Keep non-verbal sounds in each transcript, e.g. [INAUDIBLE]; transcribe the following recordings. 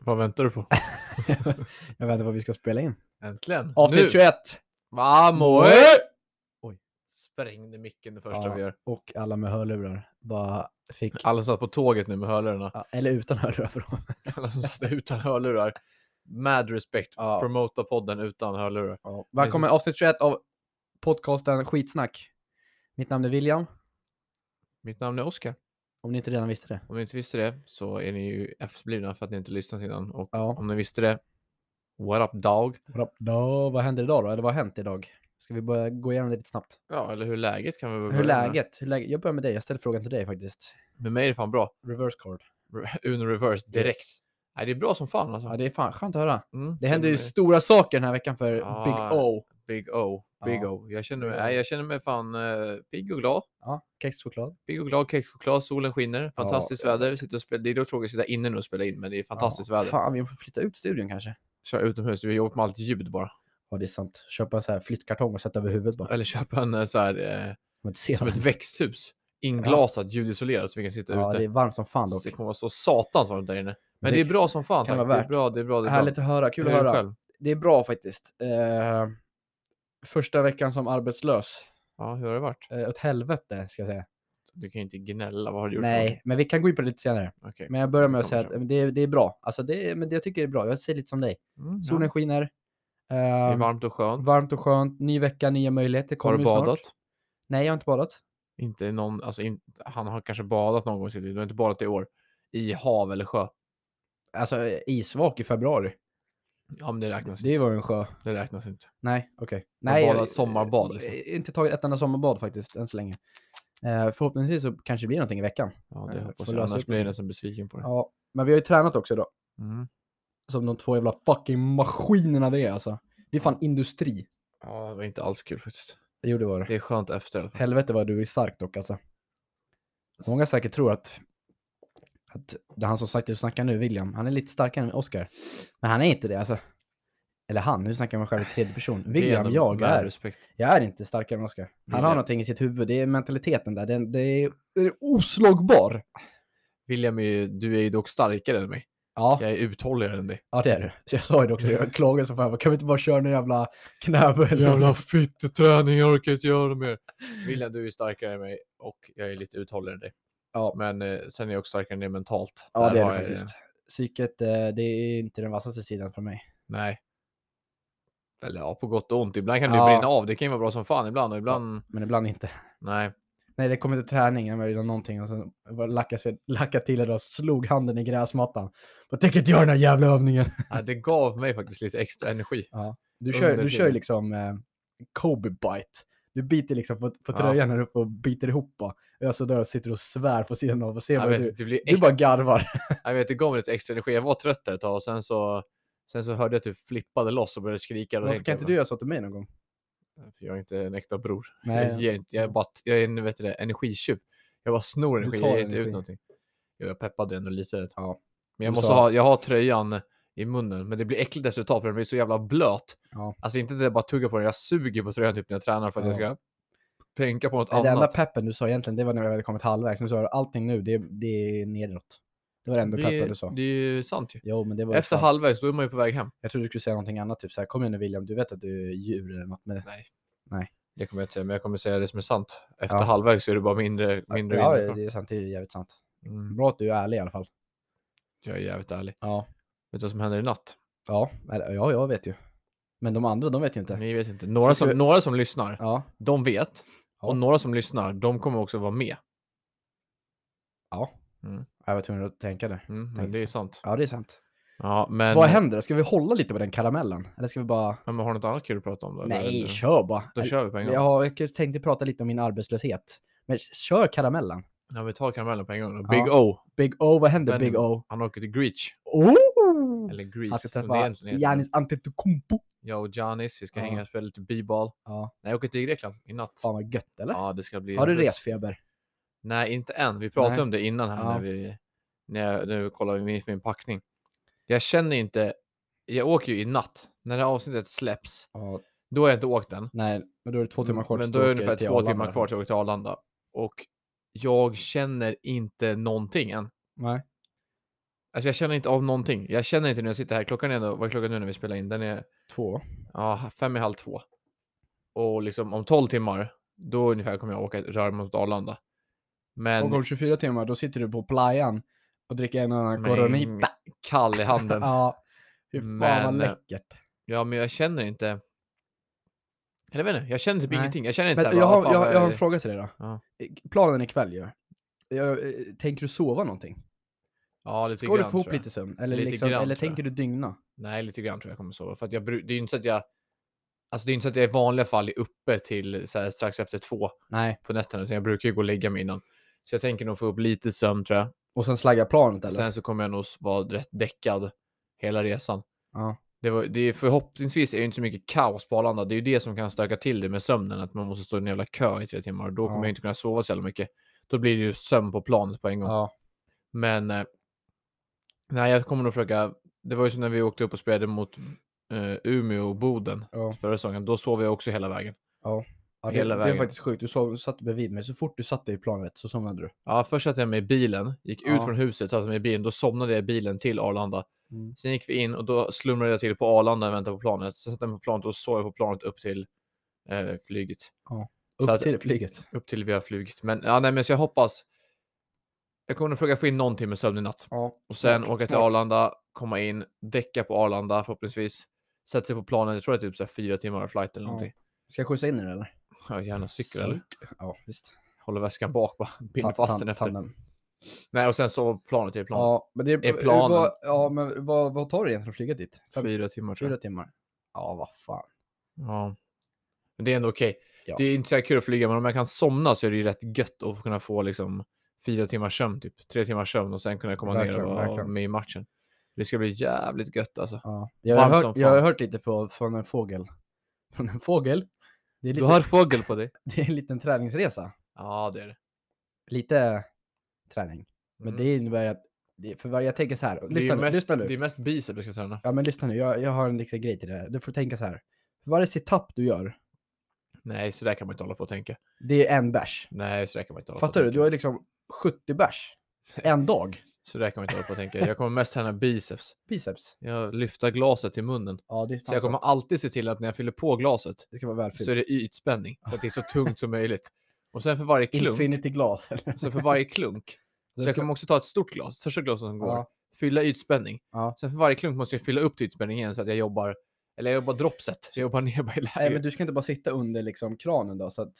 Vad väntar du på? [LAUGHS] Jag vet inte vad vi ska spela in. Äntligen! Avsnitt 21 Vamos! Oj. Sprängde micken det första Ja. vi gör. och alla med hörlurar bara fick, Alla satt på tåget nu med hörlurarna. [LAUGHS] ja, eller utan hörlurar för dem. Alla som satt utan hörlurar. Mad respect. [LAUGHS] Ja. Promota podden utan hörlurar. Välkommen precis. avsnitt 21 av podcasten Skitsnack. Mitt namn är William, Mitt namn är Oskar. om ni inte redan visste det. Om ni inte visste det så är ni ju efterblivna för att ni inte lyssnat innan. Och Ja. om ni visste det, what up dog? Då, vad händer idag då? Eller vad har hänt idag? Ska vi börja gå igenom det lite snabbt? Ja, eller hur läget kan vi väl Hur är börja med. läget? Hur är läget? Jag börjar med dig, jag ställer frågan till dig faktiskt. Med mig är det fan bra. Reverse card. [LAUGHS] Uno reverse direkt. Yes. Nej, det är bra som fan alltså. Ja, det är fan skönt att höra. Mm, Det händer ju till- stora saker den här veckan för Ja. Big O. Big O. Big Ja. O. Jag känner mig, Big O. nej, jag känner mig fan eh, pigg och glad. Ja, kexchoklad. Pigg och glad, kexchoklad, solen skiner, fantastiskt ja. väder. Sitter och spelar. Det är då tråkigt att sitta inne nu och spela in, men det är fantastiskt väder. Fan, vi får flytta ut studion kanske. Köra utomhus, vi jobbar med allt ljud bara. Ja, det är sant. Köpa en så här flyttkartong och sätta över huvudet bara. Eller köpa en eh, så här, eh, Man inte ser som ett dem. växthus, inglasat, ljudisolerat, så vi kan sitta Ja, ute. det är varmt som fan dock. det kommer vara så satans varmt där inne. Men det det är bra som fan. kan Tack. Det vara är värt. bra, det är bra. Det är bra. Härligt att höra, kul Hur att är det höra. själv? Det är bra faktiskt. Eh, första veckan som arbetslös. Ja, hur har det varit? Uh, åt helvete, ska jag säga. Du kan ju inte gnälla. Vad har du gjort? för Nej, men vi kan gå in på det lite senare. någonting? Okej. Men jag börjar med att Kommer säga att eh, det är, det är bra. Alltså, det, är- men det jag tycker är bra. Jag säger lite som dig. Mm, ja. Solen skiner. Det är Ehm, varmt och skönt. varmt och skönt. Ny vecka, nya Har möjligheter. Kommer du ju snart. badat? Nej, jag har inte badat. Inte någon, alltså in, han har kanske badat någon gång i sitt liv. Du har inte badat i år. I hav eller sjö. Alltså, eh, isvak i februari. Ja, men det räknas Det inte. var ju en sjö. Det räknas inte. Nej, okej. har Nej, badat sommarbad, liksom. eh, Inte tagit ett enda sommarbad faktiskt, än så länge. Eh, förhoppningsvis så kanske det blir någonting i veckan. Ja, det Nej, hoppas får jag. lösa Annars upp blir jag det. nästan besviken på det. Ja, men vi har ju tränat också idag. Mm. Som de två jävla fucking maskinerna det är alltså. Det är fan industri. ja, det var inte alls kul faktiskt. Jo, det var det. Det är skönt efter i alla fall. Helvete vad du är stark dock alltså. Många säkert tror att, att det han som sagt, du snackar nu, William, han är lite starkare än Oscar. Men han är inte det alltså. Eller han, nu snackar man själv i tredje person. Det är William, ändå jag med är. Respekt. Jag är inte starkare än Oscar. Han har William. någonting i sitt huvud, det är mentaliteten där. Den, det är, den är oslagbar. William, är ju, du är ju dock starkare än mig. Ja, Jag är uthålligare än [LAUGHS] dig. ja det är du. Så jag sa ju det också, jag klagade så fan, jag bara, kan vi inte bara köra någon jävla knäböj? fitteträning, jag orkar inte göra mer. William, du är starkare än mig och jag är lite uthålligare än dig. Ja. Men eh, sen är jag också starkare än dig mentalt. Ja, Där det är har det jag, eh, faktiskt. Psyket, eh, det är inte den vassaste sidan för mig. Nej. Eller ja, på gott och ont. Ibland kan det Ja. brinna av. Det kan ju vara bra som fan ibland och ibland Men ibland inte. nej. Nej, det kom inte träning, jag gjorde någonting och sen var- lackade, sig, lackade till idag, slog handen i gräsmattan. Jag tänker inte göra den här jävla övningen. Nej, Det gav mig faktiskt lite extra energi. Du kör, Under du kör ju tiden. liksom eh, Kobe bite. Du biter liksom på, på Ja. tröjan här uppe och biter ihop bara. Jag så där och sitter och svär på sidan av och ser Jag vad vet, du... det, blir Du ex... bara garvar. jag vet, det gav mig lite extra energi. Jag var trött där ett tag och sen så, sen så hörde jag att du flippade loss och började skrika. Då Varför tänkte kan inte [LAUGHS] jag, du göra så till mig någon gång? "Men, för Jag är inte en äkta bror. Nej. Jag, ger inte, jag, är bara, jag är en vet du det, energitjuv. Jag bara snor Du energi. tar Jag ger inte energi. ut någonting. Jo, Jag peppade ändå lite. ett tag. Ja. Men jag, Du måste sa- ha, jag har tröjan i munnen, men det blir äckligt efter ett tag för den blir så jävla blöt. Ja. Alltså inte att jag bara tuggar på den, jag suger på tröjan typ när jag tränar för att jag ska Ja. tänka på något Nej, det enda annat. peppen du sa egentligen, det var när vi hade kommit halvvägs. Nu sa du allting nu, det, det är nedåt. Det var det enda det, peppen du är- sa. det är ju sant ju. Jo, men det var ju Efter fan- halvvägs, då är man ju på väg hem. Jag trodde du skulle säga någonting annat, typ så här, kom igen nu William, du vet att du är djur eller något. Men... Det kommer jag inte säga, men jag kommer säga det som är sant. Efter Ja. halvvägs så är det bara mindre, mindre ja, vinner. det är sant, det är jävligt sant. Mm, Bra att du är ärlig i alla fall. jag är jävligt ärlig. Ja. Vet du vad som händer i natt? Ja, eller, ja, jag vet ju. Men de andra, de vet ju inte. Ni vet inte. Några, ska som, vi- några som lyssnar, Ja, de vet. Ja. Och några som lyssnar, de kommer också vara med. jag var tvungen att tänka det. Mm, men Tänk det är så. sant. Ja, det är sant. Ja, men, eh, Vad händer då? Ska vi hålla lite på den karamellen? Eller ska vi bara... Ja, men har du något annat kul att prata om? Då, eller? Nej, Eller- kör bara. Då Eller- kör vi på en gång. Ja. Ja, jag tänkte prata lite om min arbetslöshet. Men kör karamellen. vi tar karamellen på en gång. Då. Ja. Big O, Big O, vad händer Den- Big O? han åker till Greach. Oh! Eller Han Grease ska som det träffa egentligen heter. Giannis Antetokounmpo. Jag och Janis, vi ska Ja. hänga och spela lite b-ball. Ja, Nej, jag åker till Grekland i natt. fan vad gött eller? Ja, det ska bli... Har du jävligt- resfeber? Nej, inte än. Vi pratade Nej. om det innan här Ja. när vi, när jag, när vi kollade min, min packning. Jag känner inte... Jag åker ju i natt. När det här avsnittet släpps, Ja, då har jag inte åkt än. nej, men då är det två timmar kvar Mm, Men tills då du är det åker ungefär till två Arlanda. timmar kvar till jag åker till Arlanda. Och jag känner inte någonting än. Nej. Alltså jag känner inte av någonting. Jag känner inte när jag sitter här. Klockan är ändå, vad är klockan nu när vi spelar in? Den är Två. ja, fem i halv två. Och liksom om 12 timmar, då ungefär kommer jag åka ett rör mot Arlanda. Men Och om 24 timmar, då sitter du på playan och dricker en annan med en coronita. kall i handen. [LAUGHS] Ja. Fy fan vad Men, eh, läckert. Ja, men jag känner inte. Eller jag vet inte, jag känner typ Nej. ingenting. Jag känner inte Men, så här, jag, bara, har, "Fan, jag, vad jag har är- en fråga till dig då. Ja. Planen ikväll ju. Jag, eh, tänker du sova någonting? Ja, lite Ska du grann, få tror ihop jag. lite sömn? Eller, Lite liksom, grann, eller tror jag. tänker du dygna? Nej, lite grann tror jag kommer sova. För att jag, bru- det är ju inte så att jag... Alltså det är inte så att jag i vanliga fall är uppe till så här, strax efter två Nej. på nätterna. Utan jag brukar ju gå och lägga mig innan. Så jag tänker nog få upp lite sömn tror jag. Och sen slagga planet eller? Sen så kommer jag nog s- vara rätt däckad hela resan. Ja. Det var, det är förhoppningsvis är det inte så mycket kaos på Arlanda. Det är ju det som kan stöka till det med sömnen. Att man måste stå i en jävla kö i tre timmar. Och då kommer Ja. jag inte kunna sova så jävla mycket. Då blir det ju sömn på planet på en gång. ja. Men eh, nej, jag kommer nog försöka. Det var ju som när vi åkte upp och spelade mot eh, Umeå och Boden Ja. förra säsongen. Då sov jag också hela vägen. Ja, det, Hela det är vägen. faktiskt sjukt. Du sov, satt bredvid mig. Så fort du satte dig i planet så somnade du. Ja, först satte jag mig i bilen, gick ut Ja. från huset, satte mig i bilen. Då somnade jag i bilen till Arlanda. Mm. Sen gick vi in och då slumrade jag till på Arlanda och väntade på planet. Sen satte jag mig på planet och sov jag på planet upp till eh, flyget. Så Upp att- till flyget. Upp till vi har flugit. Men, ja, nej, men så jag hoppas. Jag kommer nog försöka få in någon timme sömn i natt. Ja. Och sen Smart, åka till smart. Arlanda, komma in, däcka på Arlanda förhoppningsvis. Sätta sig på planet, jag tror det är typ så här fyra timmar av flight eller Ja. någonting. Ska jag skjutsa in er eller? Ja, gärna cykel eller? Ja, visst. Håller väskan bak bara, [LAUGHS] binder Ta- fast tan- den efter. tandem. Nej, och sen sova på planet till planet. Ja, men det är, Är planen- Vad, ja, men vad, vad tar det egentligen att flyga dit? Fem, Fyra timmar tror fyra jag. timmar? Ja, vad fan. Ja. Men det är ändå okej. Ja. Det är inte så här kul att flyga, men om jag kan somna så är det ju rätt gött att kunna få liksom fyra timmars sömn, typ tre timmars sömn och sen kunna komma ner Verkligen, och vara verkligen. med i matchen. Det ska bli jävligt gött alltså. Ja. Jag, har Varmt som hört, jag har fan. hört lite på, från en fågel. [LAUGHS] Från en fågel? Det är, Du lite, har fågel på dig? [LAUGHS] det är en liten träningsresa. Ja, det är det. Lite träning. Men Mm. det innebär ju att... Det, för vad jag tänker så här. det är Lyssna ju nu. mest, Lyssna Det är nu. mest biceps jag ska träna. Ja, men lyssna nu. Jag, jag har en liten grej till det här. Du får tänka så här. För varje situp du gör, Nej, så där kan man inte hålla på och tänka. det är en bärs. Nej, så där kan man inte hålla på Fattar och du? Du tänka. har ju liksom 70 bärs. En dag. Så där kan man inte hålla på och tänka. Jag kommer mest träna biceps. Biceps. Jag lyfter glaset till munnen. Ja, det är Så jag kommer alltid se till att när jag fyller på glaset Det ska vara så är välfyllt. det ytspänning. Så att det är [LAUGHS] så tungt som möjligt. Och sen för varje klunk, Infinity glas. eller? [LAUGHS] så för varje klunk, så jag kommer också ta ett stort glas, största glaset som går, Ja. fylla ytspänning. Ja. Sen för varje klunk måste jag fylla upp till ytspänning igen så att jag jobbar, eller jag jobbar droppset. Så jag jobbar ner bara i Nej, lägret. men du ska inte bara sitta under liksom kranen då så att...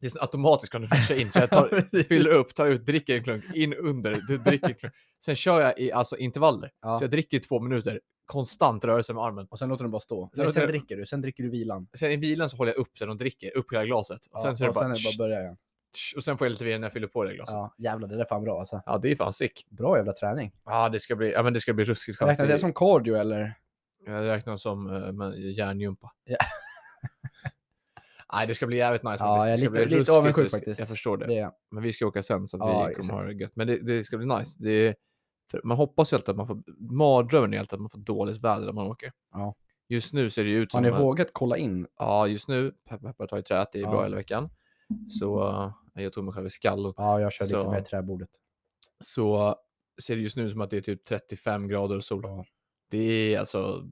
Det är så automatiskt kan du färsar in. Så jag [LAUGHS] tar, Precis. fyller upp, tar ut, dricker en klunk, in under, du dricker en klunk. Sen kör jag i alltså intervaller. Ja. Så jag dricker i två minuter, konstant rörelse med armen. Och sen låter den bara stå. Sen Sen, sen låter- dricker du, sen dricker du vilan. Sen i bilen så håller jag upp så de dricker, upp hela glaset. Och Ja, sen så är det och sen bara... är det bara att börja igen. tsch, Alltså. och sen får jag lite vin när jag fyller på det glaset. Ja. Ja, jävlar, det där är fan bra alltså. det är fan sick. Bra jävla träning. Ja, det ska bli, ja, men det ska bli ruskigt skönt. Räknas det som cardio eller? Jag räknar som eh, men, järngympa. Ja. [LAUGHS] Nej, det ska bli jävligt nice. Ja, faktiskt. jag det ska är bli lite- lite ruskigt, avundsjuk ruskigt. faktiskt. Jag förstår det. Det är... Men vi ska åka sen så att Ja, vi kommer exakt. ha det gött. Men det, det ska bli nice. Det, är- för man hoppas ju alltid att man får, mardrömmen är alltid att man får dåligt väder när man åker. Ja. Just nu ser det ju ut Har som... ni att- vågat kolla in? ja, just nu, peppar peppar tar i träet, det är bra Ja. hela veckan. Så eh, jag tog mig själv i skallen. Ja, jag kör lite Så- med träbordet. Så ser det just nu som att det är typ 35 grader och sol. Ja. Det är alltså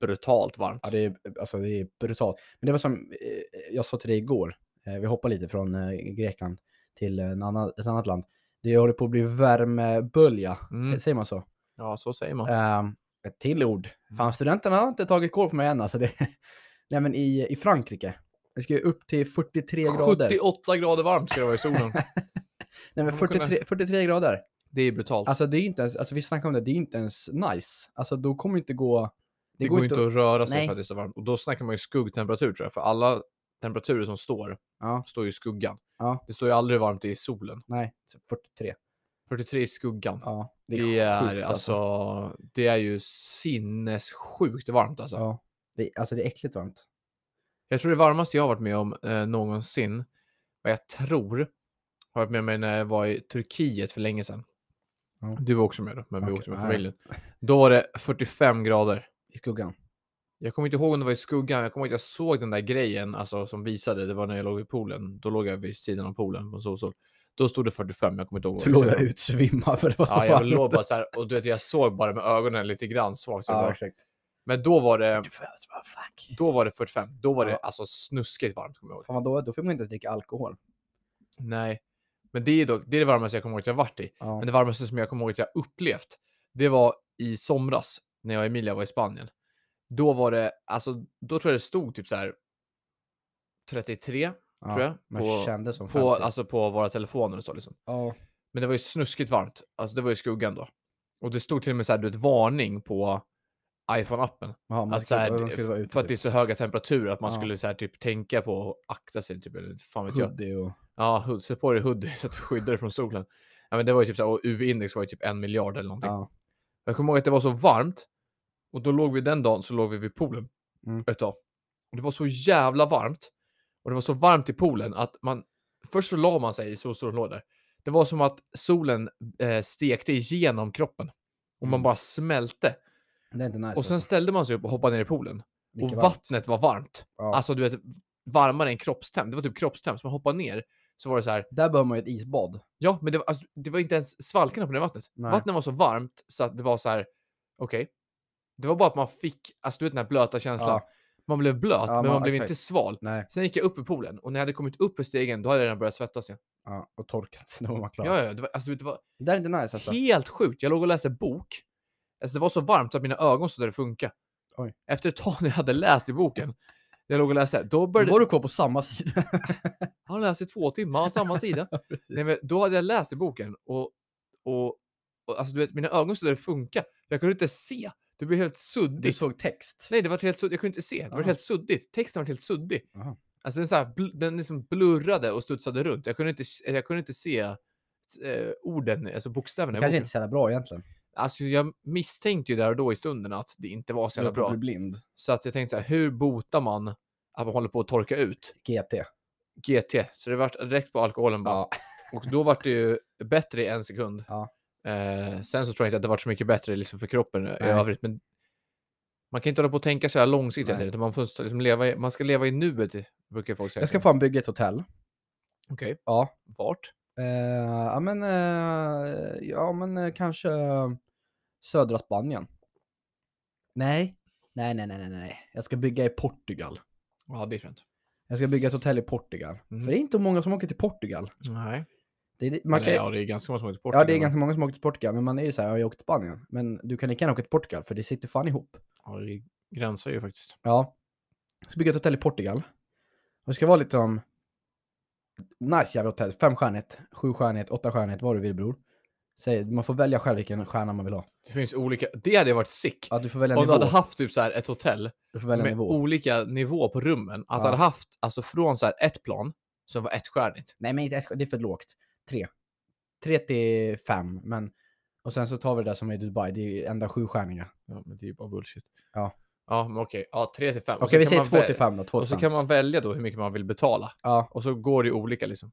brutalt varmt. Ja, det är, alltså, det är brutalt. Men det var som eh, jag sa till dig igår. Eh, vi hoppar lite från eh, Grekland till eh, en annan, ett annat land. Det håller på att bli värmebölja. Mm. Säger man så? Ja, Mm. så säger man. Ehm, ett till ord. Fan, studenterna har inte tagit koll på mig än. Alltså det... [LAUGHS] Nej, men i, i Frankrike. Det ska ju upp till 43 [LAUGHS] grader. 78 grader varmt ska det vara i [LAUGHS] solen. Nej, men Man får kunna- 43, 43 grader. Det är brutalt. Alltså, det är inte ens, alltså vi snackar om det, det är inte ens nice. Alltså då kommer det inte gå... det, går inte att röra sig Nej. för att det är så varmt. Och då snackar man ju skuggtemperatur tror jag. För alla temperaturer som står, Ja. står ju i skuggan. Ja. Det står ju aldrig hur varmt det är i solen. Nej, 43. 43 i skuggan. Ja, det är, sjukt, alltså, det är ju sinnessjukt varmt alltså. Ja. Det, alltså det är äckligt varmt. Jag tror det varmaste jag har varit med om eh, någonsin, vad jag tror, har varit med mig när jag var i Turkiet för länge sedan. Ja. Du var också med då, men vi Okej, åkte med nej. familjen. Då var det 45 grader. I skuggan. Jag kommer inte ihåg om det var i skuggan. Jag kommer ihåg att jag såg den där grejen alltså, som visade. Det var när jag låg i poolen. Då låg jag vid sidan av poolen på solstol. Då stod det 45, jag kommer inte ihåg. vad Du det låg där stod. utsvimmad för det var så [LAUGHS] Ja, jag varmt. låg bara så här och du vet, jag såg bara med ögonen lite grann svagt. så jag Ja, bara, exakt. Men då var det, Du får- så bara, fuck. då var det 45. Då var det Ja. alltså snuskigt varmt, kommer jag ihåg. Fan vad då, då får man inte ens dricka alkohol. Nej, men det är, dock, det är det varmaste jag kommer ihåg att jag varit i. Ja. Men det varmaste som jag kommer ihåg att jag upplevt, det var i somras när jag och Emilia var i Spanien. Då var det, alltså, då tror jag det stod typ så här 33, ja. tror jag, Man på, kände som på, 50. alltså på våra telefoner och så liksom. ja. Men det var ju snuskigt varmt. Alltså det var ju skuggan då. Och det stod till och med så här, du vet, varning på iPhone-appen. Ja, man Att så skulle, här, man skulle vara ute. typ. för att det är så höga temperaturer att man Ja. skulle så här, typ tänka på och akta sig. Typ, eller fan vet jag. hoodie och... Ja, hood, sätt på dig hoodie [LAUGHS] så att du skyddar dig från solen. Ja, men det var ju typ så här, och UV-index var ju typ en miljard eller någonting. Ja. Jag kommer ihåg att det var så varmt. Och då låg vi den dagen så låg vi vid poolen Mm. ett tag. Och det var så jävla varmt. Och det var så varmt i poolen att man först så la man sig i solstrålningslådor. Det var som att solen eh, stekte igenom kroppen och man Mm. bara smälte. Det är inte nice. Och sen alltså. ställde man sig upp och hoppade ner i poolen och Mycket varmt. vattnet var varmt. Ja. Alltså du vet varmare än kroppstemp. Det var typ kroppstemp. Så man hoppade ner så var det så här. Där behöver man ju ett isbad. Ja, men det var, alltså, det var inte ens svalkarna på det vattnet. Nej. Vattnet var så varmt så att det var så här. Okej, det var bara att man fick, alltså du vet den här blöta känslan. Ja. Man blev blöt, men man man- blev exakt. inte sval. Nej. Sen gick jag upp i poolen och när jag hade kommit upp för stegen, då hade jag redan börjat svettas igen. Ja, och torkat. [LAUGHS] Då var man Ja, klar. ja, ja det var, alltså, du vet, det var Det där är inte nice alltså. helt sjukt. Jag låg och läste bok. Alltså, det var så varmt så att mina ögon slutade funka. Oj. Efter ett tag när jag hade läst i boken, jag låg och läste, då började Var du kvar på samma sida? [LAUGHS] Han läste i två timmar, samma sida. Nej, men då hade jag läst i boken och, och, och alltså, du vet, mina ögon slutade funka. Jag kunde inte se. Det blev helt Du suddigt. såg text. Nej, det var helt suddigt. Jag kunde inte se. Det var Ah. helt suddigt. Texten var helt suddig. Aha. Alltså den, så här, bl- den liksom blurrade och studsade runt. Jag kunde inte, jag kunde inte se eh, orden, alltså bokstäverna. Det i kanske boken. inte är så jävla bra egentligen. Alltså, jag misstänkte ju där och då i stunden att det inte var så jävla Du bra. blir blind. Så att jag tänkte så här, hur botar man att man håller på att torka ut? GT. GT. Så det var direkt på alkoholen bara. Ja. Och då var det ju bättre i en sekund. Ja. Eh, sen så tror jag inte att det varit så mycket bättre liksom för kroppen i Nej. övrigt. Men man kan inte hålla på och tänka så här långsiktigt. Nej. hela tiden, Utan man, får liksom leva i, man ska leva i nuet, brukar folk säga. Jag ska fan bygga ett hotell. Okej, Ja. vart? Eh, ja men, eh, ja, men eh, kanske eh, södra Spanien. Nej. Nej, nej, nej, nej, nej. Jag ska bygga i Portugal. Ja, det är skönt. Jag ska bygga ett hotell i Portugal. Mhm. För det är inte många som åker till Portugal. Nej. Det är, man Man kan, Ja, det är ganska många som åker till ja, det är Portugal. ganska många som åker till Portugal, men man är ju så här, "Ja, jag åker till Spanien. Men du kan lika gärna åka till Portugal, för det sitter fan ihop. Ja, det gränsar ju faktiskt. Ja. Jag ska bygga ett hotell i Portugal. Och det ska vara liksom... Nice jävla hotell. Femstjärnigt, sjustjärnigt, åttastjärnigt, vad du vill bror. Säg, man får välja själv vilken stjärna man vill ha. Det finns olika. Det hade varit sick. Ja, du får välja Om du nivå. hade haft typ så här ett hotell Du får välja med nivå. olika nivå på rummen. Att Ja. du hade haft alltså från så här ett plan som var ettstjärnigt. Nej, men inte ett, det är för lågt. Tre. Tre till fem, men... Och sen så tar vi det där som är i Dubai, det är ju enda sjustjärniga. Ja, men det är ju bara bullshit. Ja. Ja, men okej. Ja, 3 till 5. Okej, vi säger två till fem då. Två Och till så fem. kan man välja då hur mycket man vill betala. Ja. Och så går det ju olika liksom.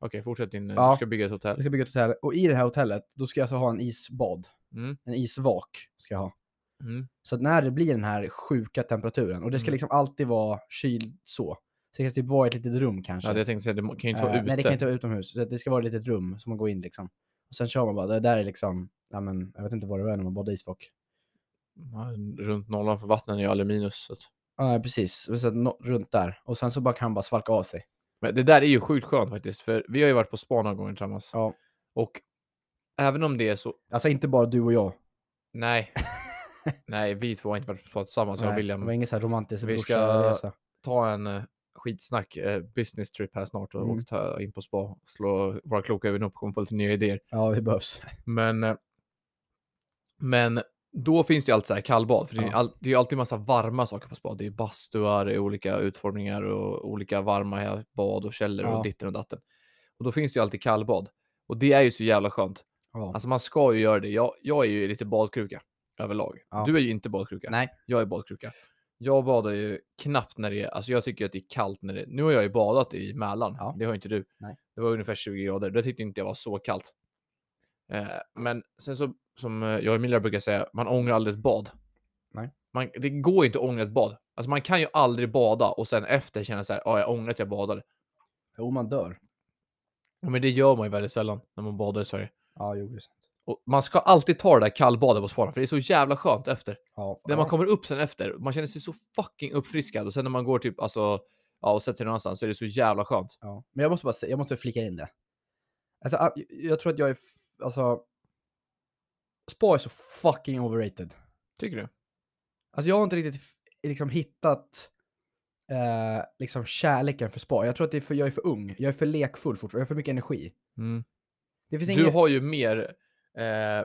Okej, fortsätt din... eh, Ja. Du ska bygga ett Jag hotell. ska bygga ett hotell, och i det här hotellet, då ska jag alltså ha en isbad. Mm. En isvak ska jag ha. Mm. Så att när det blir den här sjuka temperaturen, och det ska Mm. liksom alltid vara kyld så. Så det ska typ vara i ett litet rum kanske. Ja, det jag tänkte säga, det må- kan ju inte vara Eh, ute. Nej, det kan inte vara utomhus. Så att det ska vara ett litet rum som man går in liksom. Och sen kör man bara, det där är liksom, ja men jag vet inte vad det var när man badade isvak. Ja, Runt nollan för vattnet är ju aldrig minus. Så att... Ja, precis. Och Så att, nå- runt där. Och sen så bara kan man bara svalka av sig. Men det där är ju sjukt skönt faktiskt. För vi har ju varit på spa några gånger tillsammans. Ja. Och även om det är så... Alltså inte bara du och jag. Nej. Nej, vi två har inte varit på spa tillsammans. Alltså, Jag och Nej, Det var William ingen så här romantisk Vi ska- brorsaresa. ta en eh, skitsnack eh, business trip här snart och, Mm. och ta in på spa. Slå våra kloka ögon upp och komma på lite nya idéer. Ja, det behövs. Men, eh, men då finns det ju alltid så här kallbad. För det, är ju Ja. all, det är ju alltid massa varma saker på spa. Det är bastuar, det är olika utformningar och olika varma bad och källor Ja. och ditten och datten. Och då finns det ju alltid kallbad. Och det är ju så jävla skönt. Ja. Alltså man ska ju göra det. Jag, jag är ju lite badkruka överlag. Ja. Du är ju inte badkruka. Nej. Jag är badkruka. Jag badar ju knappt när det är, alltså jag tycker att det är kallt när det Nu har jag ju badat i Mälaren. Ja. Det har ju inte du. Nej. Det var ungefär 20 grader. Det tyckte inte jag var så kallt. Eh, men sen så, som eh, jag och Emilia brukar säga, man ångrar aldrig ett bad. Nej. Man, det går ju inte att ångra ett bad. Alltså man kan ju aldrig bada och sen efter känna så här, ja, jag ångrar att jag badade. Jo, man dör. Ja, men det gör man ju väldigt sällan när man badar i Sverige. Ja, jo, det är sant. Och man ska alltid ta det där kallbadet på Sparta, för det är så jävla skönt efter. Ja, När ja. man kommer upp sen efter, man känner sig så fucking uppfriskad och sen när man går typ alltså, ja, och sätter sig någon annanstans så är det så jävla skönt. Ja. Men jag måste bara säga, jag måste flika in det. Alltså, a- jag- jag tror att jag är, f- alltså... Spa är så fucking overrated. Tycker du? Alltså jag har inte riktigt f- liksom hittat eh, liksom kärleken för spa. Jag tror att det är för jag är för ung. Jag är för lekfull fortfarande. Jag har för mycket energi. Det finns Mm. Du ingen... har ju mer eh,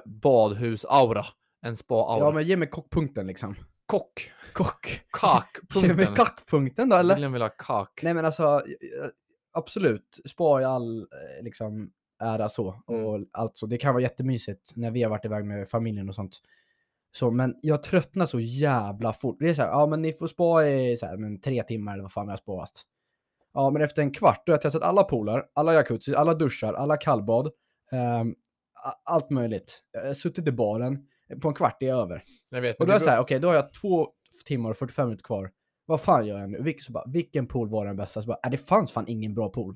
badhus-aura än spa-aura. Ja, men ge mig kockpunkten liksom. Kock! Kock. [LAUGHS] Ge mig Kakpunkten. kackpunkten då eller? William vill ha kak. Nej men alltså, eh, absolut. Spa i all eh, liksom ära så. Och allt så. Det kan vara jättemysigt när vi har varit iväg med familjen och sånt. Så, men jag tröttnar så jävla fort. Det är så här, ja men ni får spa i så här, men tre timmar eller vad fan jag har spaat. Ja men efter en kvart, då har jag testat alla pooler, alla jacuzzi, alla duschar, alla kallbad. ehm, a- allt möjligt. Jag har suttit i baren, på en kvart är jag över. Jag vet, men Och då är det jag så här, okej, då har jag två timmar och 45 minuter kvar. Vad fan gör jag nu? Vilken, så bara, vilken pool var den bästa? Så bara, äh, det fanns fan ingen bra pool.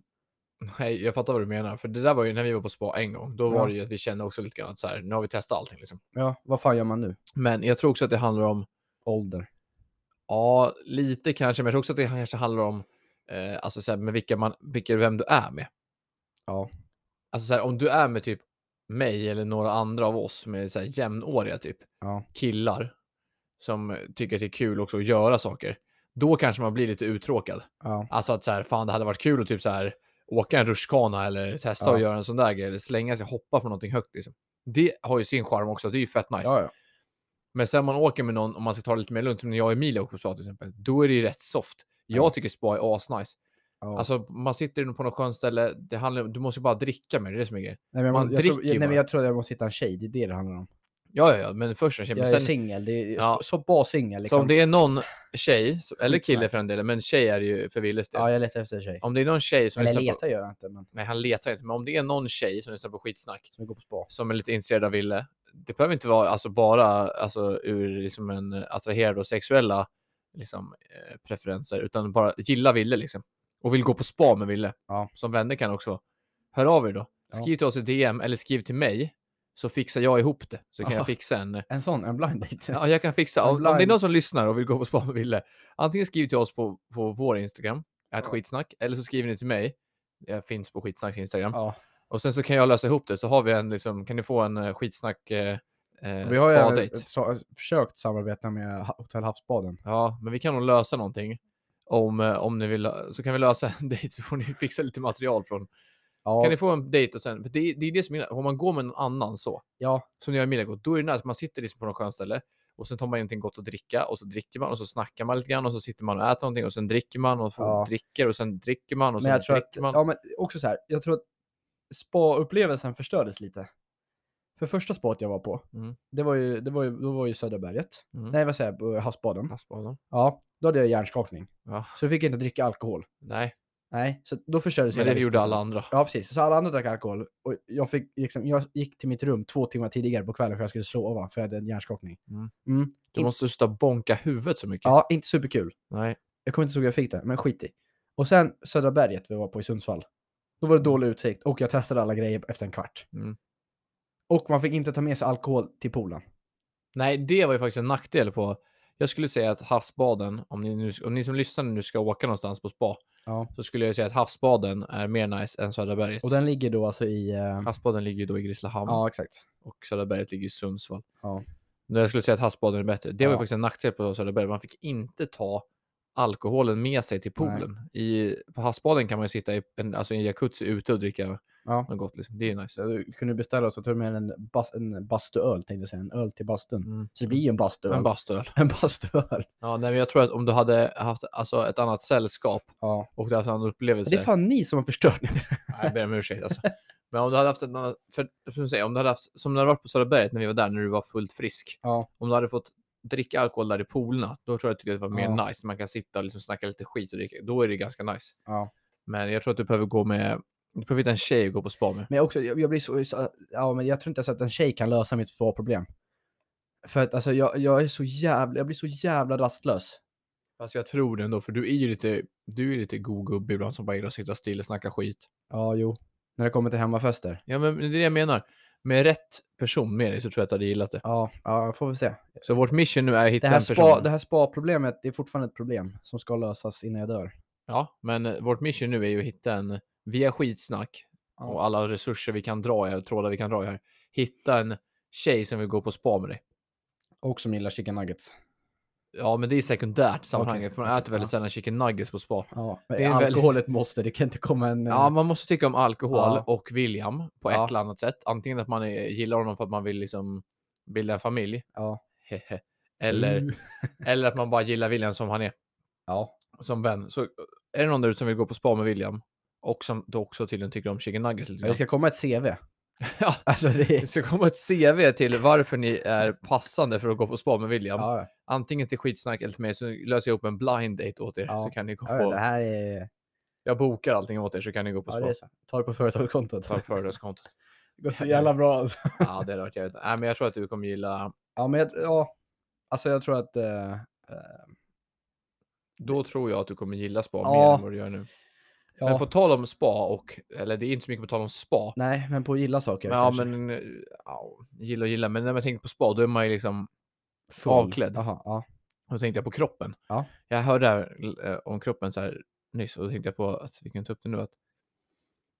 beror- Nej, jag fattar vad du menar. För det där var ju när vi var på spa en gång. Då Ja. var det ju att vi kände också lite grann att så här, nu har vi testat allting liksom. Ja, vad fan gör man nu? Men jag tror också att det handlar om Ålder. Ja, lite kanske, men jag tror också att det kanske handlar om eh, alltså så här, med vilka man, vilka, vem du är med. Ja. Alltså så här, om du är med typ mig eller några andra av oss som är så här jämnåriga typ, Ja. killar som eh, tycker att det är kul också att göra saker, då kanske man blir lite uttråkad. Ja. Alltså att så här, fan det hade varit kul att typ så här åka en rutschkana eller testa Ja. att göra en sån där grej eller slänga sig, hoppa från någonting högt liksom. Det har ju sin charm också, det är ju fett nice. Ja, ja. Men sen man åker med någon, om man ska ta det lite mer lugnt, som när jag och Emilia åker på spa till exempel, då är det ju rätt soft. Jag Ja. tycker spa är asnice. ja. Alltså man sitter på något skönt ställe, det handlar, du måste ju bara dricka med det, det är det som är grejen. nej, men jag, man måste, jag, tror, dricker ju nej, men bara. jag tror att jag måste hitta en tjej, det är det det handlar om. Ja, ja, ja, men först och främst. Jag men är sen- singel, det är Ja. så bra singel. Så Liksom. om det är någon tjej, så- eller kille Skitsnack. för den delen, men tjej är det ju för Willes del. Ja, jag letar efter en tjej. Om det är någon tjej som Eller lyssnar på... letar gör jag inte, men Nej, han letar inte. Men om det är någon tjej som lyssnar på skitsnack, som går på spa. som är lite intresserad av Ville, det behöver inte vara alltså, bara alltså, ur liksom, en eh, attraherad och sexuella liksom, eh, preferenser, utan bara gilla Ville liksom. Och vill gå på spa med Ville. Ja. Som vänner kan också. Hör av er då. Ja. Skriv till oss i DM eller skriv till mig så fixar jag ihop det. Så kan [LAUGHS] Ja. jag fixa en... En sån, en blind date. [LAUGHS] Ja, jag kan fixa. En Om, om det är blind- någon som lyssnar och vill gå på spa med Ville, antingen skriv till oss på, på vår Instagram, att skitsnack, eller så skriver ni till mig. Jag finns på skitsnacks Instagram. Ja. Och sen så kan jag lösa ihop det, så har vi en, liksom, kan ni få en eh, skitsnack eh, eh, Vi har ju även spadejt. ett, så, försökt samarbeta med Ha- Hotell Havsbaden. Ja, men vi kan nog lösa någonting. Om, eh, om ni vill, så kan vi lösa en [LAUGHS] dejt så får ni fixa lite material från. Ja, Kan ni få en dejt och sen, för det, är- det är det som är Om man går med någon annan så, ja, som jag och Emilia går, då är det nice. Man sitter liksom på något skönt ställe och sen tar man någonting gott att dricka och så dricker man och så snackar man lite grann och så sitter man och äter någonting och sen dricker man och får, Ja. dricker och sen dricker man och men sen jag dricker tror att, man. ja, men också så här, jag tror att spa-upplevelsen förstördes lite. För första spat jag var på, Mm. det var ju, det var ju, då var ju Södra berget. Mm. Nej, vad säger jag, på Havsbaden. Havsbaden. Ja, då hade jag hjärnskakning. Ja. Så då fick jag inte dricka alkohol. Nej, Nej, så då förstördes men hela det gjorde vistelsen. alla andra. Ja, precis. Så alla andra drack alkohol. Och jag, fick, liksom, jag gick till mitt rum två timmar tidigare på kvällen för jag skulle sova, för jag hade en hjärnskakning. Mm. Mm. Du In- måste sluta bonka huvudet så mycket. Ja, inte superkul. Nej. Jag kommer inte ihåg hur jag fick det, men skit i. Och sen Södra berget vi var på i Sundsvall. Då var det dålig utsikt och jag testade alla grejer efter en kvart. Mm. Och man fick inte ta med sig alkohol till poolen. Nej, det var ju faktiskt en nackdel på. Jag skulle säga att havsbaden, om ni, nu, om ni som lyssnar nu ska åka någonstans på spa, Ja. så skulle jag säga att havsbaden är mer nice än Södra berget. Och den ligger då alltså i... eh, Havsbaden ligger ju då i Grisslehamn Ja, exakt. och Södra berget ligger i Sundsvall. Ja. Men jag skulle säga att havsbaden är bättre. Det var Ja. ju faktiskt en nackdel på Södra berget. Man fick inte ta alkoholen med sig till Nej. poolen. I, på havsbaden kan man ju sitta i en, alltså i en jacuzzi ute och dricka Ja. något gott. Liksom. Det är ju nice. Så du kunde beställa och så tog du med en, bas, en bastuöl, tänkte jag säga. En öl till bastun. Mm. Så det blir ju en bastuöl. En bastuöl. [LAUGHS] en bastuöl. Ja, nej, men jag tror att om du hade haft alltså, ett annat sällskap Ja. och du hade haft en annan upplevelse. Det är fan ni som har förstört det. [LAUGHS] Nej, jag ber om ursäkt alltså. Men om du hade haft en annan, för, för att säga, om du hade haft, som när du var på Södra berget när vi var där, när du var fullt frisk. Ja. Om du hade fått dricka alkohol där i poolerna, då tror jag att det var mer Ja. nice. Man kan sitta och liksom snacka lite skit och dricka. Då är det ganska nice. Ja. Men jag tror att du behöver gå med, du behöver hitta en tjej att gå på spa med. Men också, jag, jag blir så, så... Ja, men jag tror inte ens att en tjej kan lösa mitt sparproblem. För att alltså, jag, jag är så jävla... Jag blir så jävla rastlös. Fast Alltså, jag tror det ändå, för du är ju lite, du är lite god gubbe ibland som bara gillar att sitta still och snacka skit. Ja, jo. När det kommer till hemmafester. Ja, men det är det jag menar. Med rätt person med dig så tror jag att du hade gillat det. Ja, ja, får vi se. Så vårt mission nu är att hitta Det här, en person. spa, det här spa-problemet det är fortfarande ett problem som ska lösas innan jag dör. Ja, men eh, vårt mission nu är ju att hitta en, via skitsnack Ja. och alla resurser vi kan dra i här, och trådar vi kan dra i här, hitta en tjej som vill gå på spa med dig. Och som gillar chicken nuggets. Ja, men det är sekundärt i sammanhanget, för man okej, äter väldigt ja. sällan chicken nuggets på spa. Ja, men Det är väldigt- alkohol är ett måste, det kan inte komma en... eh, Ja, man måste tycka om alkohol Ja. och William på Ja. ett eller annat sätt. Antingen att man är, gillar honom för att man vill liksom bilda en familj, ja. hehe, eller, Uh, eller att man bara gillar William som han är, Ja. som vän. Så är det någon där ute som vill gå på spa med William och som då också tydligen tycker om chicken nuggets lite Men Det grann. ska komma ett CV. [LAUGHS] Ja. Alltså [LAUGHS] det är... Det ska komma ett CV till varför ni är passande för att gå på spa med William. Ja, ja. Antingen till skitsnack eller till mig så löser jag upp en blind date åt er Ja. så kan ni gå Ja, ja, på. det här är... Jag bokar allting åt er så kan ni gå på Ja, spa. det är så. Ta det på företagskontot. Ta föredragskontot. [LAUGHS] Det går så jävla bra alltså. Ja, det hade varit jävligt. Nej, men jag tror att du kommer gilla. Ja, men jag, ja. Alltså jag tror att... eh, eh, Då tror jag att du kommer gilla spa mer Ja. än vad du gör nu. ja. Men på tal om spa och, eller det är inte så mycket på tal om spa. Nej, men på att gilla saker. men, ja, kanske. men eh, ja, gilla och gilla. Men när man tänker på spa, då är man ju liksom Full. avklädd. Jaha, ja. Då tänkte jag på kroppen. Ja. Jag hörde här, eh, om kroppen så här nyss och då tänkte jag på att vi kan ta upp det nu. Att,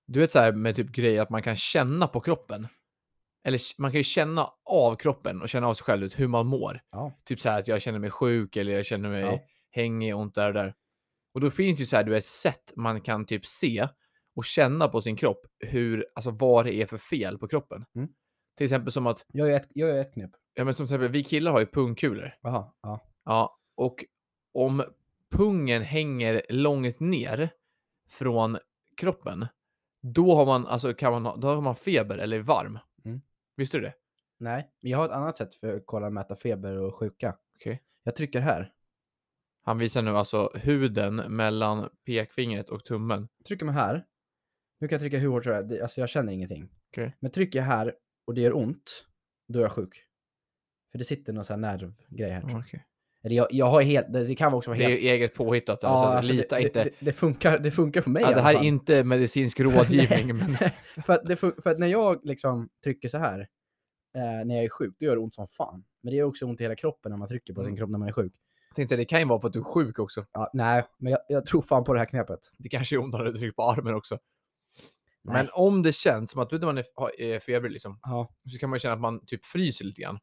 du vet så här med typ grejer att man kan känna på kroppen. Eller k- man kan ju känna av kroppen och känna av sig själv ut hur man mår. Ja. Typ så här att jag känner mig sjuk eller jag känner mig Ja. hängig och ont där och där. Och då finns ju så här, du vet, sätt man kan typ se och känna på sin kropp hur, alltså vad det är för fel på kroppen. Mm. Till exempel som att, Jag gör ett, jag gör ett knep. ja men som till exempel, vi killar har ju pungkulor. Jaha, ja. Ja, och om pungen hänger långt ner från kroppen, då har man, alltså kan man, ha- då har man feber eller är varm. Mm. Visste du det? Nej, men jag har ett annat sätt för att kolla, mäta feber och sjuka. Okej. Jag trycker här. Han visar nu alltså huden mellan pekfingret och tummen. Trycker man här. Nu kan jag trycka hur hårt som helst. Det- Alltså jag känner ingenting. Okej. Men trycker jag här och det gör ont, då är jag sjuk. För det sitter någon sån här nervgrej här. tror jag. Eller jag, jag har helt, det det kan också vara Mm. Det är helt... ju eget påhittat, Ja, alltså, alltså lita det, inte. Det, det, funkar, det funkar för mig ja, i det alla här är fall. [LAUGHS] inte medicinsk rådgivning, men för, att det, fun- för att när jag liksom trycker så här, eh, när jag är sjuk, då gör det ont som fan. Men det gör också ont i hela kroppen när man trycker på sin Mm. kropp när man är sjuk. jag tänkte, säga, det kan ju vara för att du är sjuk också. Ja, nej, men jag, jag tror fan på det här knepet. Det kanske är ont när du trycker på armen också. Nej. Men om det känns som att du vet när man är, har- är feber, liksom, Ja. så kan man känna att man typ fryser lite grann.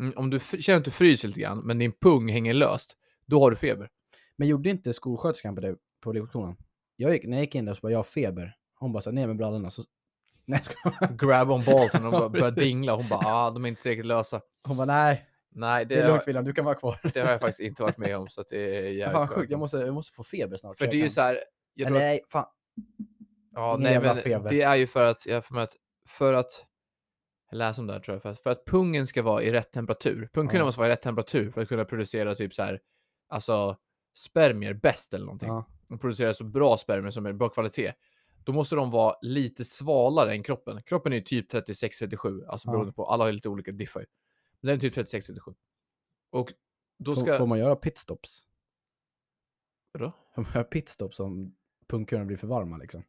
Mm, om du f- känner att du fryser lite grann, men din pung hänger löst, då har du feber. Men gjorde inte skolsköterskan på det på lektionen? Jag gick, när jag gick in där så bara, jag har feber. Hon bara, så här, ner med brallorna. Så... [LAUGHS] Nej, jag skojar. Grab on ballsen och [LAUGHS] Ja, bara börjar precis. dingla. Hon bara, ah, de är inte säkert lösa. Hon bara, nej, Nej, det, det, är har, lugnt William, du kan vara kvar. det [LAUGHS] har jag faktiskt inte varit med om, så att det är jävligt fan sjukt, skönt. jag måste, jag måste få feber snart. För jag det är ju kan- så här, jag tror Eller att, nej, fan. ja, ingen nej, jävla men feber. det är ju för att, jag har för mig att, för att, jag läser om det här tror jag, för att, för att pungen ska vara i rätt temperatur. Pungkulorna Ja. måste vara i rätt temperatur för att kunna producera typ så här, alltså spermier bäst eller någonting. Ja. och producerar så bra spermier som är bra kvalitet, då måste de vara lite svalare än kroppen. Kroppen är ju typ 36-37, alltså Ja. beroende på, alla har ju lite olika, diffar ju. Men den är typ 36-37. Och då Får, ska... får man göra pitstops? [LAUGHS] Vadå? Får man göra pitstops om pungkulorna blir för varma liksom?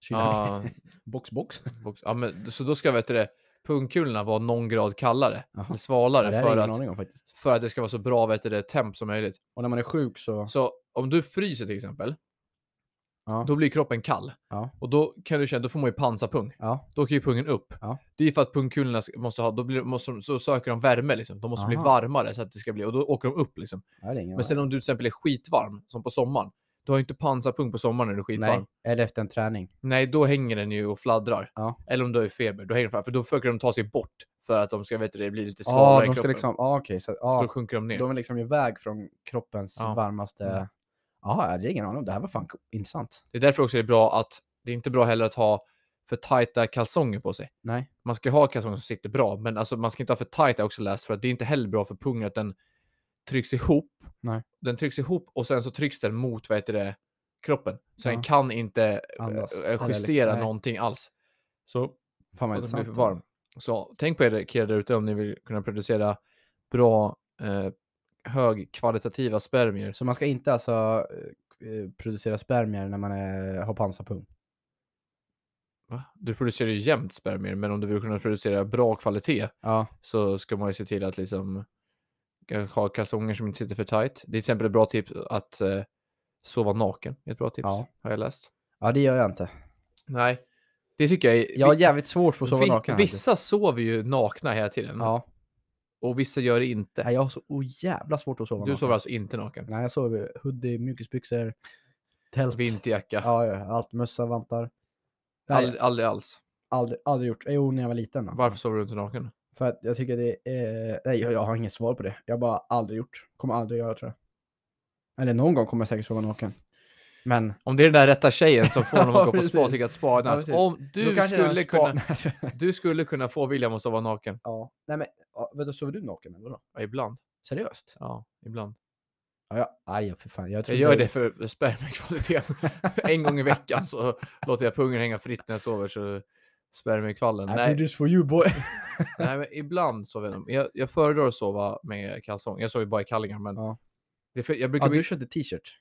Kyla Ja, [LAUGHS] Box, box. box- ja, men, så då ska vet du det, pungkulorna vara någon grad kallare, Jaha. eller [LAUGHS] Ja, svalare, det här är för, ingen att, aning om faktiskt. för att det ska vara så bra vet du det, temp som möjligt. Och när man är sjuk så... Så om du fryser till exempel, Ja. då blir kroppen kall. Ja. Och då kan du känna, då får man ju pansarpung. Ja. Då åker ju pungen upp. Ja. Det är för att pungkulorna ska- måste ha, då blir, måste, de- så söker de värme liksom. De måste bli Aha. varmare så att det ska bli, och då åker de upp liksom. Ja, det är ingen Men sen aning. om du till exempel är skitvarm, som på sommaren, du har ju inte pansarpung på sommaren när du är skitvarm. Nej, Nej. eller efter en träning. då hänger den ju och fladdrar. Ja. Eller om du har ju feber, då hänger den fram, för då försöker de ta sig bort för att de ska vet du, det blir lite Ja, svalare i de ska kroppen. liksom... Ja, okej. så, Så ja, då sjunker de ner. de är liksom iväg från kroppens Ja. Mm. varmaste... Jaha, jag hade ingen aning om det här var fan co- intressant. Det är därför också det är bra att, det är inte bra heller att ha för tajta kalsonger på sig. Nej. man ska ha kalsonger som sitter bra, men alltså man ska inte ha för tajta också läst för att det är inte heller bra för pungen att den trycks ihop. Nej. Den trycks ihop och sen så trycks den mot vad heter det, kroppen. Så den Ja. kan inte Andas. eh, Eller liksom- justera nej. någonting alls. Så, Fan vad att den blir intressant. för varm. så tänk på er killar där ute om ni vill kunna producera bra eh, högkvalitativa spermier. Så man ska inte alltså eh, eh, producera spermier när man är, har pansarpung? Va? Du producerar ju jämnt spermier, men om du vill kunna producera bra kvalitet Ja, så ska man ju se till att liksom kanske ha kalsonger som inte sitter för tight. Det är till exempel ett bra tips att eh, sova naken. är Ett bra tips Ja. har jag läst. ja det gör jag inte. Nej, det tycker jag är... Jag har vi- jävligt svårt för att sova vi- naken. faktiskt. Vissa sover ju nakna hela tiden Ja. och vissa gör det inte. Nej, jag har så oh, jävla svårt att sova du naken. sover alltså inte naken? Nej, jag sover i hoodie, mjukisbyxor, tält. Vinterjacka? Ja, ja, allt. Mössa, vantar. Det har jag Ald- aldrig alls. aldrig, aldrig gjort. Jo, när jag var liten. då. Varför sover du inte naken? För att jag tycker det är... Nej, jag, jag har inget svar på det. Jag har bara aldrig gjort. Kommer aldrig göra, tror jag. Eller någon gång kommer jag säkert sova naken. Men... Om det är den där rätta tjejen som [LAUGHS] får honom Ja, att gå på spa precis. tycker jag att spa är Ja, nice. precis. Om Då du kanske jag skulle, har kunna, spa- du skulle kunna få William att sova naken. [LAUGHS] ja. Nej, men... Ja, vänta, sover du naken eller vadå? Ja, ibland. Seriöst? Ja, ibland. Ja, ja. Aj, för fan. Jag, Jag trodde- gör det för spermiekvaliteten. [LAUGHS] en gång i veckan så låter jag pungen hänga fritt när jag sover så spermiekvallen. I do Nej, this for you boy. nej, men ibland sover jag. Jag, jag föredrar att sova med kalsong. Jag sover ju bara i kallingar, men Ja. det är för, jag [LAUGHS] ja, brukar bli... du köpte t-shirt.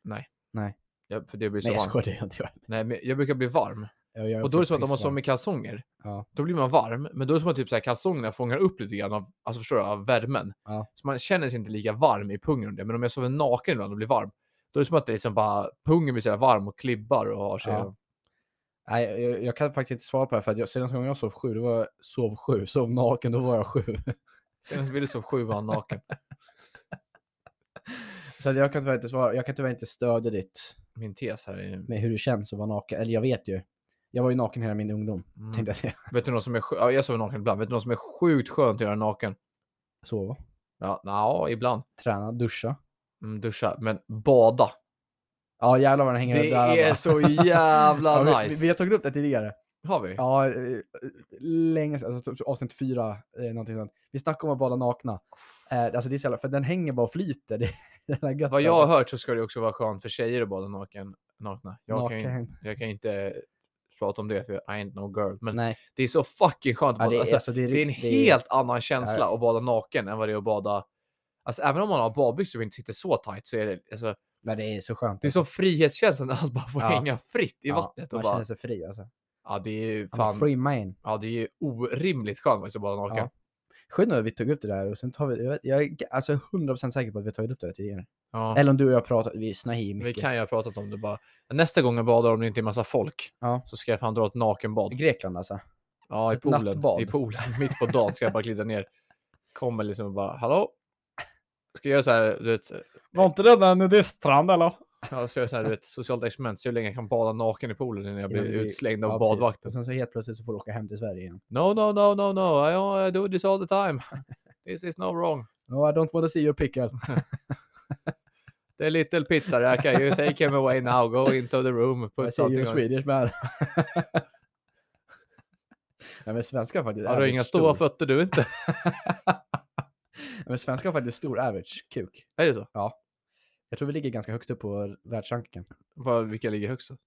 Jag, för det blir så Nej, jag varmt. skojar. Det gör inte jag. Nej, men jag brukar bli varm. jag. gör Och då är det faktiskt så att om man visst sover varmt. med kalsonger, Ja. då blir man varm. Men då är det som att typ så här, kalsongerna fångar upp lite grann av, alltså förstår du, av värmen. Ja. Så man känner sig inte lika varm i pungen. och det. Men om jag sover naken ibland och blir varm, då är det som att det liksom bara, pungen blir så här varm och klibbar och har sig. Ja. Nej, jag, jag kan faktiskt inte svara på det här, för att jag, senaste gången jag sov sju, då var jag sov sju, sov naken, då var jag sju. [LAUGHS] Senast ville som sju var han naken. Så att jag kan tyvärr inte svara, jag kan tyvärr inte stödja ditt Min tes här är... Mm. med hur det känns att vara naken. Eller jag vet ju. Jag var ju naken hela min ungdom, Mm. tänkte jag säga. [LAUGHS] Vet du något som är sj- ja, Jag sover naken ibland. Vet du något som är sjukt skönt att göra naken? Sova, Ja, nja, ibland. träna, duscha. Mm, duscha. Men bada. Ja, jävlar vad den hänger Det där. är va? [LAUGHS] så jävla Ja, vi, nice. vi, vi har tagit upp det tidigare. Har vi? Ja, eh, länge sedan, alltså typ avsnitt fyra, eh, någonting sånt. Vi snackade om att bada nakna. Eh, alltså det är så jävla, för den hänger bara och flyter. [LAUGHS] Det är jävla gött. Vad jag har hört så ska det också vara skönt för tjejer att bada naken, nakna. Jag, Kan, ju- Naken. jag kan inte prata om det för I ain't no girl. Men Nej. det är så fucking skönt. Att Ja, bada. det, är, alltså, alltså, det, är, det är en rikt- helt annan känsla att bada naken än vad det är att bada... Alltså även om man har badbyxor och inte sitter så tight så är det... Alltså, Nej, det är så skönt. det är alltså. som frihetskänslan att bara få Ja. hänga fritt i Ja, vattnet. Och Man bara, känner sig fri alltså. ja, det är ju I'm a fan, free man. ja, det är ju orimligt skönt faktiskt att bada naken. Ja. Ja. Skönt att vi tog upp det där och sen tar vi, jag, vet- jag är g- alltså 100% säker på att vi har tagit upp det där tidigare. Eller om du och jag pratat, vi Vi snahir mycket. kan ju ha pratat om det bara. Nästa gång jag badar om det inte är massa folk Ja. så ska jag fan dra ett nakenbad. Grekland alltså. Ja, i Ett poolen. nattbad. I poolen, mitt på dagen ska jag bara glida ner. Kommer liksom och bara, hallå? Ska jag göra så här, du vet, Var inte det där nudiststrand eller? ja, ska jag göra så här, du vet socialt experiment, se hur länge jag kan bada naken i poolen innan jag blir Innan du blir- utslängd av Ja, precis. badvakten. Och sen så helt plötsligt så får du åka hem till Sverige igen. No, no, no, no, no, I, I do this all the [LAUGHS] time. This is no wrong. No, I don't want to see your pickle. The little pizza racker, you take him away now, go into the room, I put see something you on. Swedish man. [LAUGHS] Nej men svenskar har faktiskt Har du average inga stora stor- fötter du inte? [LAUGHS] Nej, men svenskar har faktiskt stor average kuk. Är det så? Jag tror vi ligger ganska högst upp på världsrankingen. Vad- Vilka ligger högst? då?